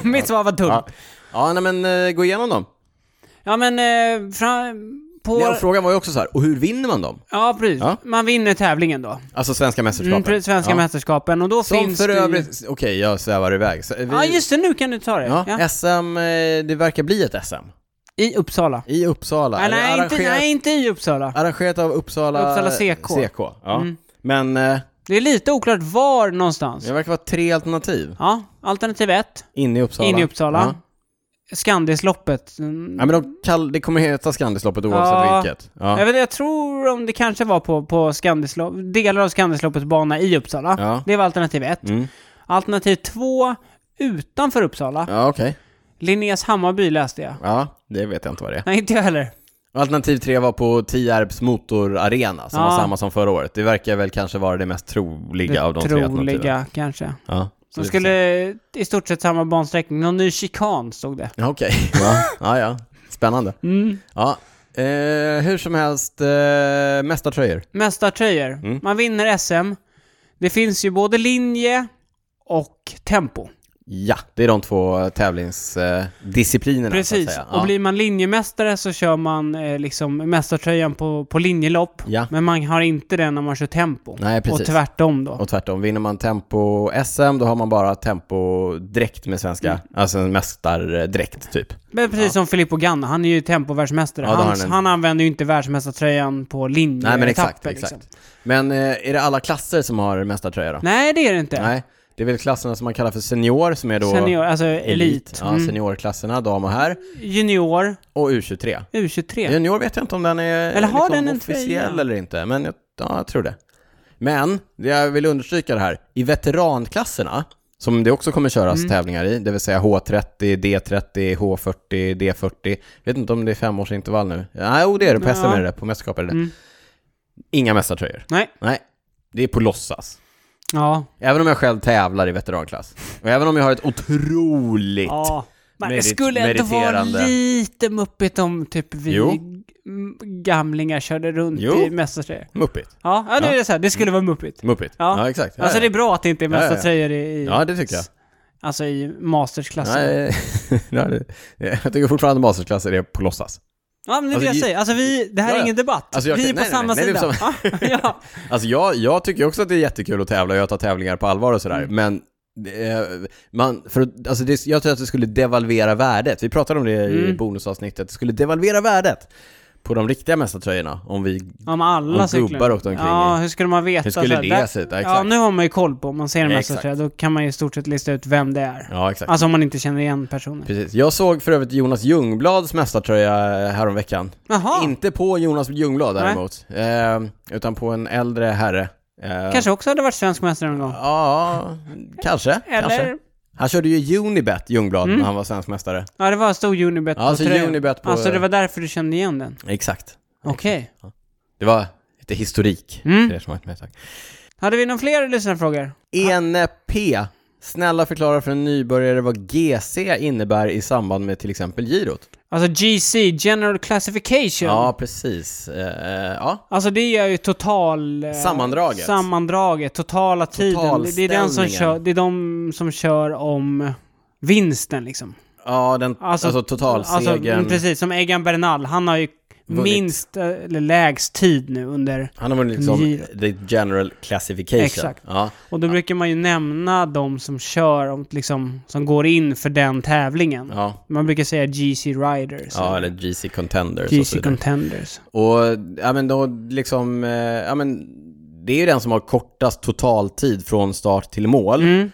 Mitt svar var dumt. ja. Ja. ja, nej men eh, gå igenom dem. men eh, fram, på... Nej, och frågan var ju också så här, och hur vinner man dem? Ja, precis. Ja. Man vinner tävlingen då. Alltså svenska Mm, mästerskapen. precis, svenska ja. mästerskapen och då Som finns för det ju- övrigt, okej jag svävar iväg. Så, eh, vi, Ja, just det, nu kan du ta det. ja, Ja. SM, eh, det verkar bli ett SM. I Uppsala. I Uppsala. Nej, Eller nej, inte, arrangerat, nej, inte i Uppsala. arrangerat av Uppsala, Uppsala Mm. CK. ja. Men eh, Det är lite oklart var någonstans. det Ja, verkar vara tre alternativ. alternativ ett, Inne i Uppsala. in i Uppsala. Ja. Skandisloppet. Mm. Ja, men de kall- det kommer heta Skandisloppet oavsett Ja. vilket. Ja. Jag, vet, inte, jag tror om det kanske var på, på Skandislo delar av Skandisloppets bana i Uppsala. Ja. Det var alternativ ett. Mm. Alternativ två, utanför Uppsala. Ja, okej. Linnés Hammarby läste jag. Ja, det vet jag inte vad det är. Nej, inte jag heller. Alternativ tre var på Tierps motorarena, som Ja. var samma som förra året. Det verkar väl kanske vara det mest troliga av de tre alternativen. Troliga, kanske. Ja, så De vi får skulle se. i stort sett samma bansträckning. Någon ny chikan stod det. Ja, Okej. Ja. ja, ja. Spännande. Mm. Ja. Eh, hur som helst, eh, mästartröjor. Mästartröjor. Mm. Man vinner SM. Det finns ju både linje och tempo. Ja, det är de två tävlingsdisciplinerna så att Precis. säga. Ja. Och blir man linjemästare så kör man eh, liksom mästartröjan på, på linjelopp. Ja. Men man har inte den när man kör tempo. Nej, precis. Och tvärtom då. Och tvärtom, vinner man tempo-SM då har man bara tempo-dräkt med svenska, Mm. alltså en mästardräkt typ. Men precis som Filippo Ganna, han är ju tempovärldsmästare. Ja, då har Hans- han en- han använder ju inte världsmästartröjan på linje Nej men exakt, etapper, exakt. Liksom. Men eh, är det alla klasser som har mästartröja då? Nej, det är det inte. Nej, det är väl klasserna som man kallar för senior som är då Senior, alltså elit. Ja, seniorklasserna, dam och herr. Junior, Och U23. U23. Junior vet jag inte om den är liksom Eller har den en officiell tröja? eller inte, men jag, ja, jag tror det. Men, det jag vill understryka det här, i veteranklasserna, som det också kommer köras Mm. tävlingar i, det vill säga H30, D30, H40, D40, jag vet inte om det är femårsintervall nu. Nej, jo det är det, på SM är det det, på mästerskap är det det. Mm. Inga mästartröjor. Nej. Nej, det är på låtsas. Ja. Även om jag själv tävlar i veteranklass, och även om jag har ett otroligt ja. Men det Merit- skulle ändå vara meriterande. lite muppigt om typ vi Jo. m- gamlingar körde runt Jo. i mästartröjor. Muppigt. Ja, ja, nu Ja. är det så här. Det skulle vara muppigt. Muppigt. Ja, Ja. exakt. Ja, Alltså det ja. är bra att det inte är Ja, ja, ja. mästartröjor i, i... ja, det tycker jag. Alltså i mastersklassen. Nej, nej, det- jag tycker fortfarande masterklasser är på låtsas. Ja, men det är Alltså, det jag i- säger. Alltså vi, det här Ja, är ja. ingen debatt. Alltså, jag vi kan- är på nej, nej, samma nej, det är sida. ja. Alltså jag, jag tycker också att det är jättekul att tävla, jag tar tävlingar på allvar och Mm. sådär, men det är- man, för, att- alltså det, jag tror att det skulle devalvera värdet. Vi pratade om det i Mm. bonusavsnittet. Det skulle devalvera värdet på de riktiga mästartröjorna om vi... ja, men alla Om cyklar. gubbar åkte omkring Ja, hur skulle man veta? Hur skulle så här? det Där- se ut? Ja, Ja, exakt. nu har man ju koll på. Om man ser en Exakt. mästartröja, då kan man ju i stort sett lista ut vem det är. Ja, exakt. Alltså om man inte känner igen personen. Precis. Jag såg för övrigt Jonas Ljungblads mästartröja häromveckan. Jaha, Inte på Jonas Ljungblad Ah. Nej. däremot, eh, utan på en äldre herre. Eh, kanske också hade varit svensk mästare någon gång. Ja, kanske. Eller? kanske. Han körde ju Unibet, Ljungblad, när han var svensk mästare. Ja, det var en stor Unibet Ja, alltså på tröjan. Unibet på- Alltså det var därför du kände igen den. Exakt. Okej. Det var lite historik. Mm. Det är som var ett mästerverk. Hade vi några fler lyssnarfrågor? Ene P. Snälla förklara för en nybörjare vad GC innebär i samband med till exempel girot. Alltså GC, General Classification. Ja, precis. Eh, eh, ja. Alltså det är ju total... eh, Sammandraget. Sammandraget, totala tiden. Det är, den som Totalställningen. kör, det är de som kör om vinsten liksom. ja, den, alltså, alltså, totalsegern. mm, precis, som Egan Bernal. Han har ju Vunnit. minst, eh, eller lägst tid nu under... Han har vunnit liksom Girot. the general classification. Exakt. Ja. Och då brukar man ju nämna de som kör, om, liksom, som går in för den tävlingen. Ja. Man brukar säga GC Riders. ja, eller GC contenders och så GC vidare. Contenders. Och ja men då liksom, eh, ja men det är ju den som har kortast totaltid från start till mål. Mm.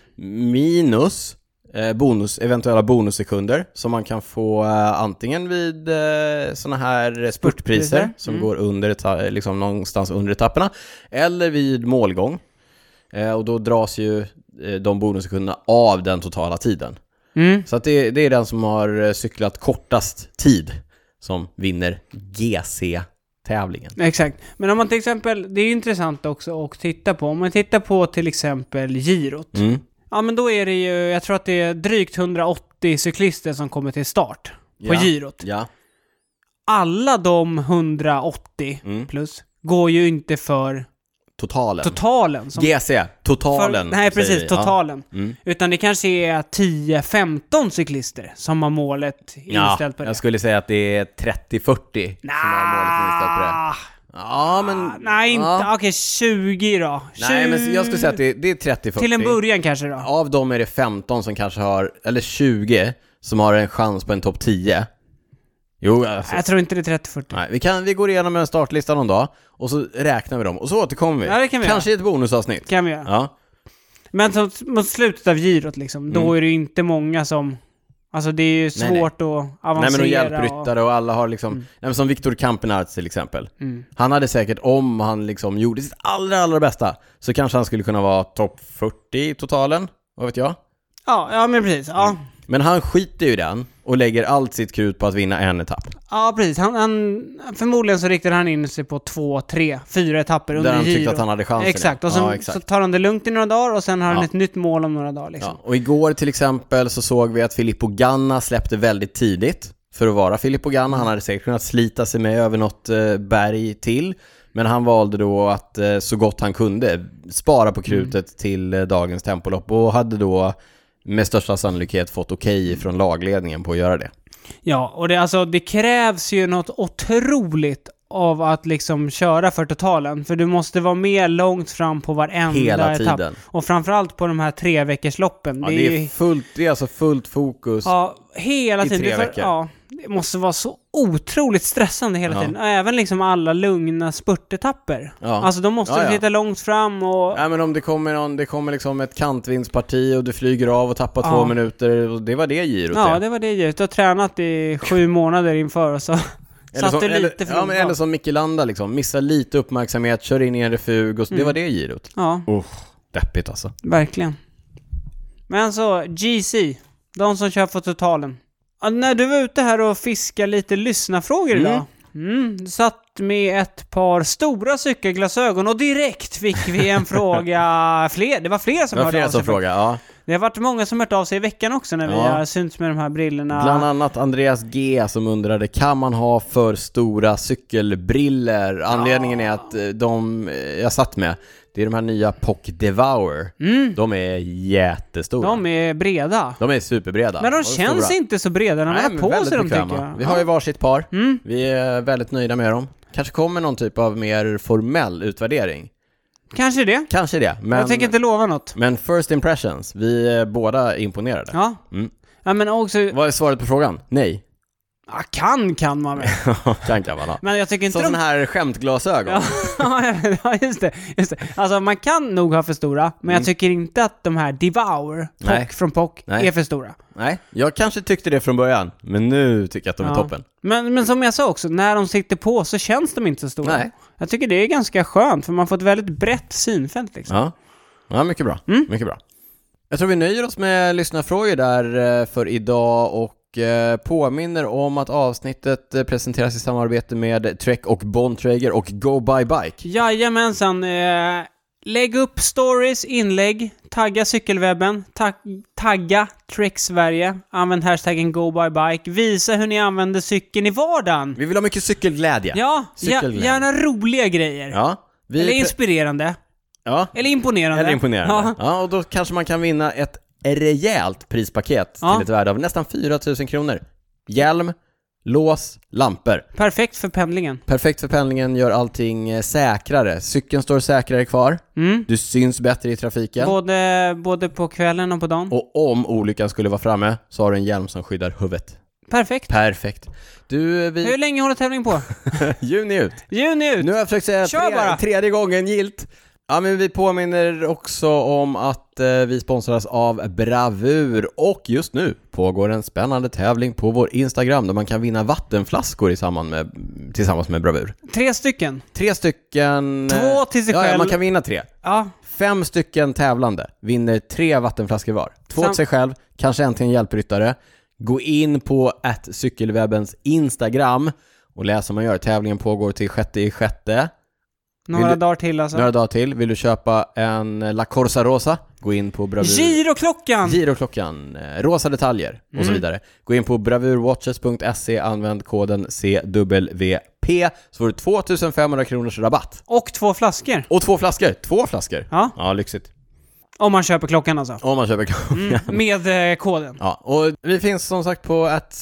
Minus eh, bonus, eventuella bonussekunder som man kan få eh, antingen vid eh, sådana här spurtpriser Spurtpriser, som mm. går under, eta- liksom någonstans under etapperna. Eller vid målgång. Eh, och då dras ju eh, de bonussekunderna av den totala tiden. Mm. Så att det, det är den som har eh, cyklat kortast tid som vinner GC-tävlingen. Exakt. Men om man till exempel, det är ju intressant också att titta på. Om man tittar på till exempel girot. Mm. Ja men då är det ju, jag tror att det är drygt 180 cyklister som kommer till start på Ja. girot. Ja. Alla de 180 Mm. plus går ju inte för Totalen. totalen. Som GC. Totalen. För, nej, säger precis. vi. Totalen. Ja. Mm. Utan det kanske är 10-15 cyklister som har målet Ja, inställt på det. jag skulle säga att det är 30-40 som har målet inställt på det. Nah, Ja, men... Nej, inte... Ja. Okej, 20 då. 20... Nej, men jag skulle säga att det, det är 30-40. Till en början kanske då. Av dem är det 15 som kanske har, eller 20, som har en chans på en topp 10. Jo, alltså. Jag tror inte det är 30-40. Nej, vi, kan, vi går igenom en startlista någon dag och så räknar vi dem och så återkommer vi. Ja, det kan vi Kanske i ett bonusavsnitt. kan vi göra. Ja. Men så, mot slutet av girot liksom, då är det ju inte många som... Alltså det är ju Mm. Nej, nej. svårt att Nej men och avancera. hjälpryttare och alla har liksom, nej, men som Viktor Kampenarts till exempel. Mm. Han hade säkert, om han liksom gjorde sitt allra, allra bästa, så kanske han skulle kunna vara topp 40 i totalen, vad vet jag. Ja, ja men precis. Ja, Men han skiter ju i den och lägger allt sitt krut på att vinna en etapp. ja precis. Han, han, förmodligen så riktade han in sig på två, tre, fyra etapper under Där han girot. tyckte att han hade chansen. Exakt, och sen, ja, exakt. så tar han det lugnt i några dagar och sen har han Ja. ett nytt mål om några dagar liksom. Ja, och igår till exempel så såg vi att Filippo Ganna släppte väldigt tidigt för att vara Filippo Ganna. Han hade säkert kunnat slita sig med över något eh, berg till. Men han valde då att eh, så gott han kunde spara på krutet Mm. till eh, dagens tempolopp och hade då med största sannolikhet fått okej från lagledningen på att göra det. Ja, och det, alltså, det krävs ju något otroligt av att liksom köra för totalen. För du måste vara med långt fram på varenda Hela etapp. tiden. Och framförallt på de här tre veckors loppen. Ja, det, är ju fullt, det är alltså fullt fokus. ja, hela i tiden. tre Det är för- veckor. Ja, det måste vara så otroligt stressande hela Ja. tiden. Och Även liksom alla lugna spurtetapper. Ja. Alltså de måste Ja, ja. sitta långt fram och... Nej men om det kommer, någon, det kommer liksom ett kantvindsparti och du flyger av och tappar två Ja. minuter, och det var det girot Ja, det var det ju. Du har tränat i sju månader inför och så Eller satt som, du lite eller, för ja, långt men fram. eller som Micke Landa liksom, missar lite uppmärksamhet, kör in i en refug och så, det Mm. var det girot. Ja, Uff, deppigt alltså. verkligen. Men så, GC. De som kör för totalen. Ja, när du var ute här och fiskade lite lyssnafrågor idag. Mm, du satt med ett par stora cykelglasögon och direkt fick vi en fråga fler. Det var flera som Det var hörde flera av sig. som frågade, ja. Det har varit många som hört av sig i veckan också när vi Ja. har synts med de här brillorna. Bland annat Andreas G som undrade, kan man ha för stora cykelbriller? Anledningen är att eh, de eh, jag satt med, det är de här nya Pock Devour. De är jättestora. De, Mm. De är breda. är superbreda. Men de och känns stora. inte så breda när man men har på väldigt sig dem bekväma. tycker jag. Mm. Vi har ju varsitt par. Vi är väldigt nöjda med dem. Kanske kommer någon typ av mer formell utvärdering. Kanske det. Kanske det, men... Jag tänker inte lova något. Men first impressions, vi är båda imponerade. Ja. Mm. ja men också, Vad är svaret på frågan? Nej. ja, kan kan man väl. kan kan man ha. Men jag tycker inte Som de... sådana här skämtglasögon. ja, ja, just det, just det. Alltså man kan nog ha för stora, men jag tycker inte att de här Devour, Mm. Nej. Pock från Pock, Nej. är för stora. Nej, jag kanske tyckte det från början, men nu tycker jag att de är Ja. toppen. Men, men som jag sa också, när de sitter på så känns de inte så stora. Nej. Jag tycker det är ganska skönt, för man får ett väldigt brett synfält liksom. Ja, ja mycket bra. Mm. Mycket bra. Jag tror vi nöjer oss med lyssnarfrågor där eh, för idag och eh, påminner om att avsnittet eh, presenteras i samarbete med Trek och Bontrager och Go By Bike. Jajamensan. Eh, lägg upp stories, inlägg, tagga cykelwebben, tag- tagga Trek Sverige, använd hashtaggen GoByBike, visa hur ni använder cykeln i vardagen. Vi vill ha mycket cykelglädje. Ja, ja Cykelglädje. gärna roliga grejer. Ja, vi Eller pre- inspirerande. ja. Eller imponerande. Eller imponerande. Ja. Ja. och då kanske man kan vinna ett rejält prispaket Ja. till ett värde av nästan 4 000 kronor. Hjälm, lås, lampor. Perfekt för pendlingen. Perfekt för pendlingen, gör allting eh, säkrare. Cykeln står säkrare kvar, Mm. du syns bättre i trafiken. Både, både på kvällen och på dagen. Och om olyckan skulle vara framme så har du en hjälm som skyddar huvudet. Perfekt. Perfekt. Du, eh, Hur vi... länge håller tävlingen på? Juni ut. Juni ut! Nu har jag försökt säga Kör bara! tre, tredje gången gilt. Ja, men vi påminner också om att eh, vi sponsras av Bravur och just nu pågår en spännande tävling på vår Instagram där man kan vinna vattenflaskor i samband med, tillsammans med Bravur. Tre stycken. Tre stycken... eh, Två till sig ja, ja, själv. man kan vinna tre. Ja, Fem stycken tävlande vinner tre vattenflaskor var. Två Sam- till sig själv, kanske en till en hjälpryttare. Gå in på att cykelwebbens Instagram och läs hur man gör. Tävlingen pågår till sjätte i sjätte. några Vill du- dagar till alltså. Några dagar till. Vill du köpa en La Corsa Rosa? Gå in på Bravur... Giroklockan! Giroklockan, eh, rosa detaljer och så vidare. Gå in på bravurwatches.se, använd koden CWP så får du 2500 kronors rabatt. Och två flaskor. Och två flaskor! Två flaskor! Ja. ja lyxigt. Om man köper klockan alltså. Om man köper klockan. Med eh, koden. Ja, och vi finns som sagt på att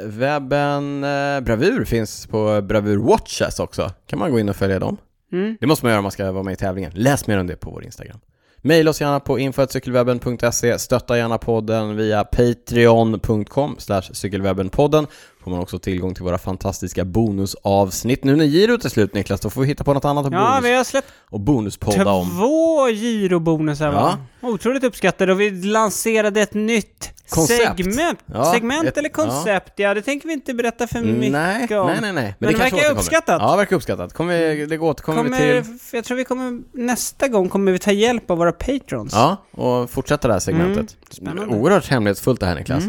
cykelwebben eh, Bravur finns på Bravur Watches också. Kan man gå in och följa dem. Mm. Det måste man göra om man ska vara med i tävlingen. Läs mer om det på vår Instagram. Maila oss gärna på info.cykelwebben.se. Stötta gärna podden via patreon.com slash cykelwebbenpodden. Får man också tillgång till våra fantastiska bonusavsnitt. Nu när girot är slut Niklas, då får vi hitta på något annat att Ja, bonus- vi har släppt och bonuspodda om. två girobonusar va? Otroligt uppskattade och vi lanserade ett nytt Koncept. segment. Ja, segment ett- eller koncept, ja. det tänker vi inte berätta för Nej, mycket nej, om. nej, nej. Men, Men det kanske verkar återkommer. uppskattat. Ja, verkar uppskattat. Kommer vi, det återkommer vi till... Kommer, Jag tror vi kommer, nästa gång kommer vi ta hjälp av våra patrons. Ja, och fortsätta det här segmentet. Mm, spännande. Mm. Oerhört hemlighetsfullt det här Niklas.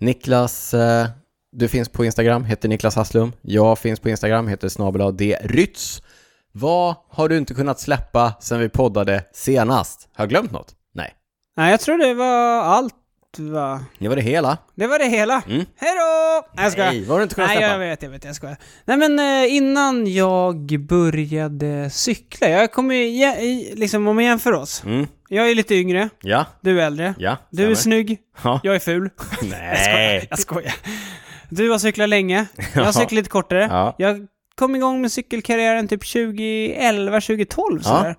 Niklas, eh, du finns på Instagram, heter Niklas Hasslum. Jag finns på Instagram, heter snabel D. Rytz. Vad har du inte kunnat släppa sen vi poddade senast? Har jag glömt något? Nej, Nej, jag tror det var allt va? det var det hela. Det var det hela. Mm. Hej då! Nej, jag skojar. Nej, vad har du inte kunnat Nej, jag släppa? vet, jag vet, jag skojar. Nej men eh, innan jag började cykla, jag kommer ju, jä- i- liksom om man jämför oss. Mm. Jag är lite yngre, Ja, du är äldre. ja. Du stämmer. är snygg, Ja. jag är ful. Nej. Jag skojar. Du har cyklat länge, jag har Ja. cyklat lite kortare. Ja. Jag kom igång med cykelkarriären typ 2011, 2012 sådär.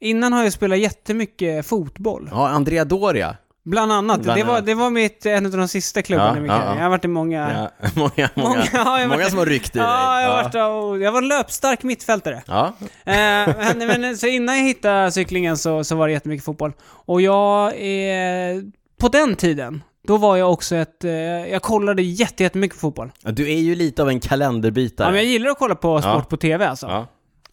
Innan har jag spelat jättemycket fotboll. Ja, Andrea Doria. Bland annat. Bland det, var, annat. det var mitt, en av de sista klubbarna Ja, i min ja, karriär. ja. Jag har varit i många... Ja. Många, Många, många, ja, jag har många, varit- som har ryckt i Ja, dig. jag, har varit, av- jag var en löpstark mittfältare. ja. Eh, men, men, så innan jag hittade cyklingen så, så var det jättemycket fotboll. Och jag är... På den tiden, då var jag också ett... Eh, jag kollade jätte, jättemycket på fotboll. Ja, Du är ju lite av en kalenderbitare. Ja, men jag gillar att kolla på sport Ja. på TV alltså. Ja.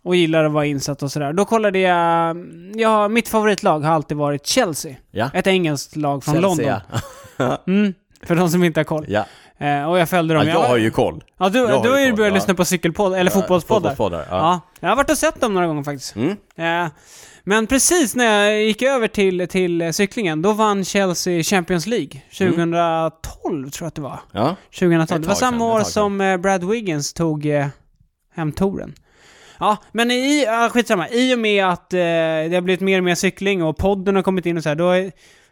Och gillar att vara insatt och sådär. Då kollade jag... Ja, mitt favoritlag har alltid varit Chelsea. Ja. Ett engelskt lag från Chelsea, London. ja. Mm, för de som inte har koll. Ja. Eh, och jag följde Ja, dem. jag har ju koll. Ja, du, jag har du ju har ju koll, börjat ja. lyssna på cykelpodd, eller fotbollspoddar. Fotbollspoddar, ja. Ja. Jag har varit och sett dem några gånger faktiskt. Mm. Eh, men precis när jag gick över till, till eh, cyklingen, då vann Chelsea Champions Mm. League. 2012 tror jag att det var. Ja. 2012. Det var Ett tag sedan, samma ett år tag sedan. som eh, Brad Wiggins tog eh, hem touren. Ja, men i, ja, skitsamma. I och med att eh, det har blivit mer och mer cykling och podden har kommit in och så här, då är,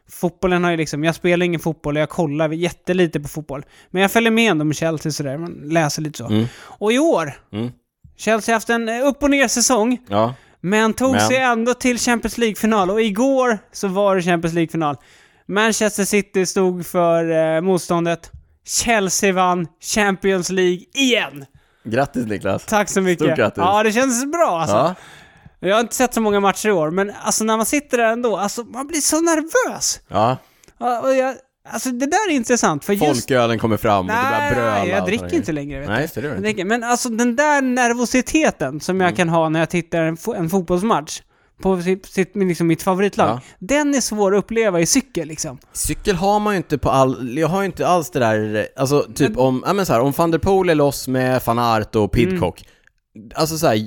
Fotbollen har ju liksom, jag spelar ingen fotboll och jag kollar jättelite på fotboll. Men jag följer med ändå med Chelsea sådär, man läser lite så. Och i år, Mm. Chelsea har haft en eh, upp och ner säsong. Ja. Men tog Men- sig ändå till Champions League-final och igår så var det Champions League-final. Manchester City stod för eh, motståndet. Chelsea vann Champions League igen! Grattis Niklas. Tack så mycket. Stort grattis. Ja, det känns bra alltså. Ja. Jag har inte sett så många matcher i år, men alltså när man sitter där ändå, alltså man blir så nervös. ja. Ja, Och jag, alltså det där är intressant, för just... Folkölen kommer fram och du börjar Nej, bröla. jag och dricker sådär. inte längre. Vet du. Nej, just det, det gör du Jag inte. tänker, Men alltså den där nervositeten som Mm. jag kan ha när jag tittar en, fo- en fotbollsmatch på sitt, sitt, min- liksom mitt favoritlag, Ja. den är svår att uppleva i cykel liksom. Cykel har man ju inte på all... Jag har ju inte alls det där... Alltså, typ om... Ja, men så här, om van der Poel är loss med van Aert och Mm. Pidcock. Alltså så här,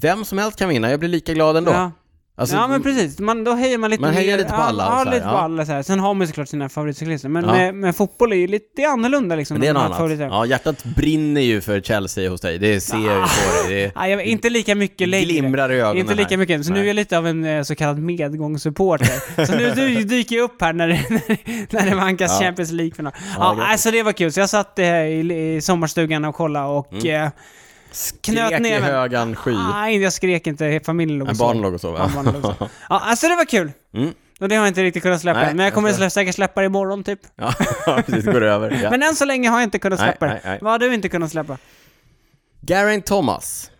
vem som helst kan vinna. Jag blir lika glad ändå. Ja. Alltså, ja men precis, man, då hejar man lite Man hejar mer- lite på ja, alla och Ja, så här, lite på ja. alla så här. Sen har man ju såklart sina favoritcyklister, men Ja. med, med fotboll är ju lite det är annorlunda liksom. Men det är än något med annat. favoriter. Ja, hjärtat brinner ju för Chelsea hos dig. Det ser jag ju på dig. Nej, jag, inte lika mycket Det längre. glimrar i ögonen Inte lika här. mycket, så nu Nej. är jag lite av en eh, så kallad medgångssupporter. så nu du, dyker jag upp här när det, när det vankas Ja. Champions League final. Ja, Ja, grattis. alltså det var kul. Så jag satt eh, i, i sommarstugan och kollade och... Eh, Mm. knöt Skrek i ner mig. Ah, högan sky. nej, jag skrek inte. Familjen låg Men och sov. barn låg och sov. Ja, Ja. barnen låg och sov. Ja, alltså det var kul. Mm. Och det har jag inte riktigt kunnat släppa Nej, än, men jag jag kommer förstår. slä, säkert släppa det imorgon typ. Ja, precis. Går över. Ja. Men än så länge har jag inte kunnat Nej, släppa nej, det. nej. Vad har du inte kunnat släppa? Geraint Thomas,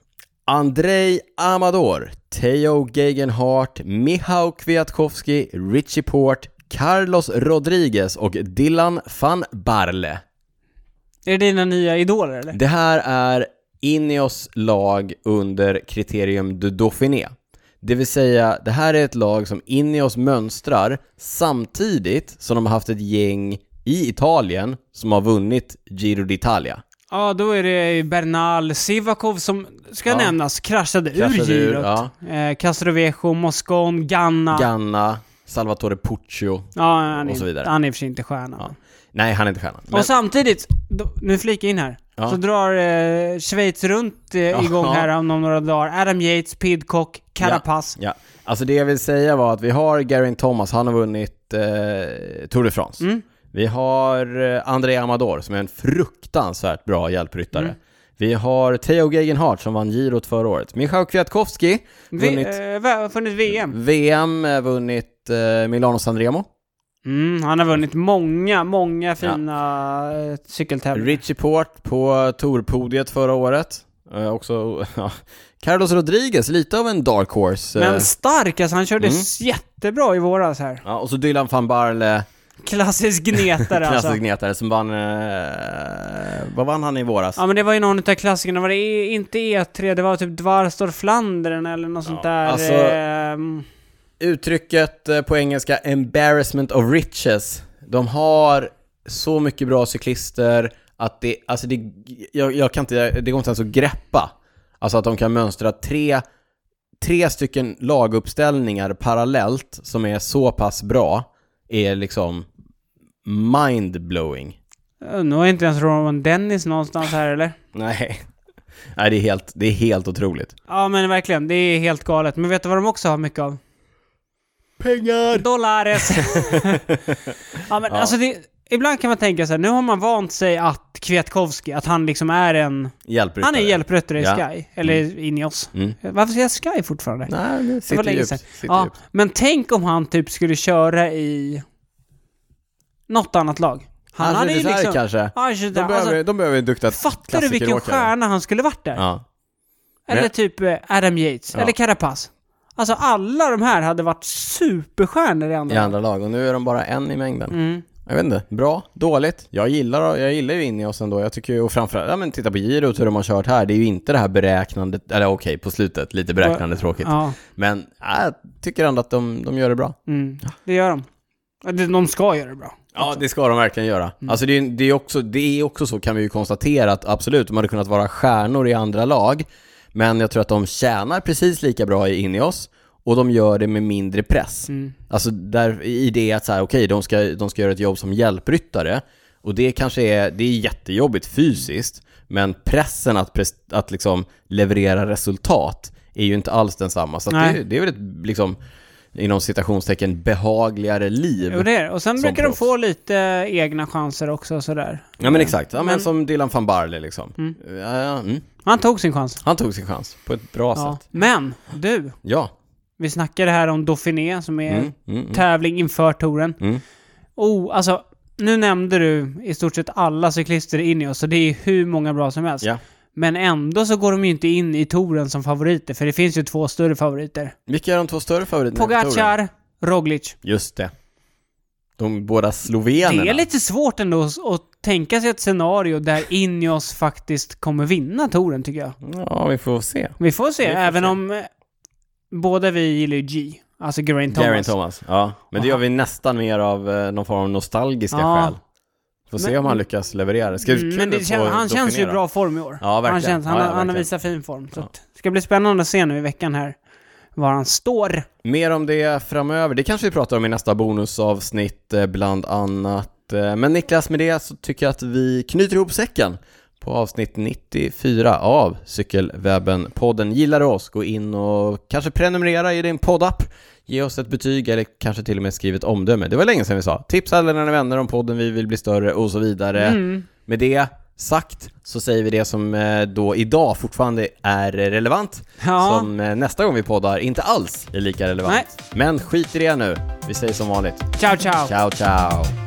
Andrei Amador, Theo Gegenhardt, Mihao Kwiatkowski, Richie Port, Carlos Rodriguez och Dylan van Barle. Är det dina nya idoler eller? Det här är Ineos lag under kriterium du Dauphiné. Det vill säga, det här är ett lag som Ineos mönstrar samtidigt som de har haft ett gäng i Italien som har vunnit Giro d'Italia. Ja, då är det Bernal Sivakov som ska Ja. nämnas, kraschade, ur Kraschade ur, girot. ja. Eh, Castrovejo, Moscon, Ganna. Ganna, Salvatore Puccio. ja, han är, och så vidare. Han är i och för sig inte stjärna. Ja. Nej, han är inte stjärnan. men- Och samtidigt, då, nu flikar jag in här, Ja. så drar eh, Schweiz runt eh, igång Ja. här om några dagar. Adam Yates, Pidcock, Carapaz. Ja. Alltså det jag vill säga var att vi har Geraint Thomas, han har vunnit eh, Tour de France. Mm. Vi har eh, André Amador som är en fruktansvärt bra hjälpryttare. Mm. Vi har Theo Gegenhardt som vann girot förra året. Michał Kwiatkowski, Vi, vunnit eh, va- funnit VM. VM, eh, vunnit eh, Milano Sanremo. Mm, han har vunnit många, många fina eh, cykeltävlingar. Richie Port på Tourpodiet förra året. Eh, också, ja. Carlos Rodriguez, lite av en dark horse. eh. Mm. Men stark alltså, han körde jättebra i våras här. ja, och så Dylan van Barle. Klassisk gnetare Klassisk alltså. gnetare som vann... Eh, vad vann han i våras? Ja men det var ju någon utav klassikerna, var det E- inte E3, det var typ Dvarstor Flandern eller något sånt där. alltså- ehm, Uttrycket eh, på engelska 'embarrassment of riches' De har så mycket bra cyklister att det... Alltså det... Jag, jag kan inte... Det går inte ens att greppa. Alltså att de kan mönstra tre, tre stycken laguppställningar parallellt som är så pass bra är liksom mindblowing. nu har inte ens Rowan Dennis någonstans här eller? Nej. Nej, det är helt, det är helt otroligt. Ja men verkligen, det är helt galet. Men vet du vad de också har mycket av? Pengar! Dollares! ja men alltså det, ibland kan man tänka så här, nu har man vant sig att Kwiatkowski, att han liksom är en... Hjälpryttare. Han är hjälpryttare i Ja. Sky, eller in i oss. Mm. Varför säger jag Sky fortfarande? Nej, det Det var sitter länge djupt. sedan. Sitter Ja, djupt. men tänk om han typ skulle köra i något annat lag. Han Alltså, hade ju det är så här liksom... kanske. Ja, så där. De behöver, Alltså, de behöver en duktig fattar du vilken klassikeråkare. stjärna han skulle varit där? Ja. Eller Men- typ eh, Adam Yates, Ja. eller Carapaz. Alltså alla de här hade varit superstjärnor i andra I lag. andra lag, och nu är de bara en i mängden. Mm. Jag vet inte, bra, dåligt. Jag gillar, jag gillar ju in i oss ändå. Jag tycker ju, och framförallt, ja men titta på girot hur de har kört här. Det är ju inte det här beräknandet, eller okej, på slutet, lite beräknande tråkigt. äh, Ja, Men ja, jag tycker ändå att de, de gör det bra. mm. det gör de. Ja, det- De ska göra det bra. Ja, det ska de verkligen göra. Mm. Alltså det är, det, är också, det är också så, kan vi ju konstatera, att absolut, de hade kunnat vara stjärnor i andra lag, men jag tror att de tjänar precis lika bra i Ineos, och de gör det med mindre press. Mm. Alltså där, i det att så här, okej, de, ska, de ska göra ett jobb som hjälpryttare, och det kanske är, det är jättejobbigt fysiskt, men pressen att, pres, att liksom leverera resultat är ju inte alls densamma. Så att Nej. det, det är väl ett, liksom, inom citationstecken, behagligare liv. Jo, det är det. Och sen Som brukar proffs. de få lite egna chanser också och sådär. Ja men exakt, ja, men, som Dylan van Barle liksom. Ja, ja, mm. Han tog sin chans. Han tog sin chans på ett bra Ja. sätt. Men, du. Ja. Vi snackade här om Dauphiné som är Mm, mm, mm. tävling inför touren. Mm. Oh, alltså, nu nämnde du i stort sett alla cyklister in i oss, så det är hur många bra som helst. ja. Men ändå så går de ju inte in i touren som favoriter, för det finns ju två större favoriter. Vilka är de två större favoriterna i touren? Pogacar, Roglic. Just det. De båda slovenerna. Det är lite svårt ändå att- att tänka sig ett scenario där Ineos faktiskt kommer vinna touren tycker jag. Ja, vi får se. Vi får se, Vi får även se. om eh, båda vi gillar ju G. Alltså Geraint Thomas. Geraint Thomas. Ja, men det gör vi nästan mer av eh, någon form av nostalgiska Ja. skäl. Får se Men- om han lyckas leverera. Det ska bli Mm, kul Men det att kän- få han känns ju i dominera. bra form i år. Ja, verkligen. Han, känns, han, Ja, ja, han verkligen. visar fin form. Så att, det ska bli spännande att se nu i veckan här var han står. Mer om det framöver. Det kanske vi pratar om i nästa bonusavsnitt eh, bland annat. Eh, Men Niklas, med det så tycker jag att vi knyter ihop säcken på avsnitt 94 av Cykelwebben-podden. Gillar du oss, gå in och kanske prenumerera i din poddapp. Ge oss ett betyg eller kanske till och med skriv ett omdöme. Det var länge sedan vi sa. Tipsa alla dina vänner om podden, vi vill bli större och så vidare. Med det sagt så säger vi det som eh, då idag fortfarande är relevant Ja. som eh, nästa gång vi poddar inte alls är lika relevant. Nej. Men skit i det nu. Vi säger som vanligt. Ciao, ciao. Ciao, ciao.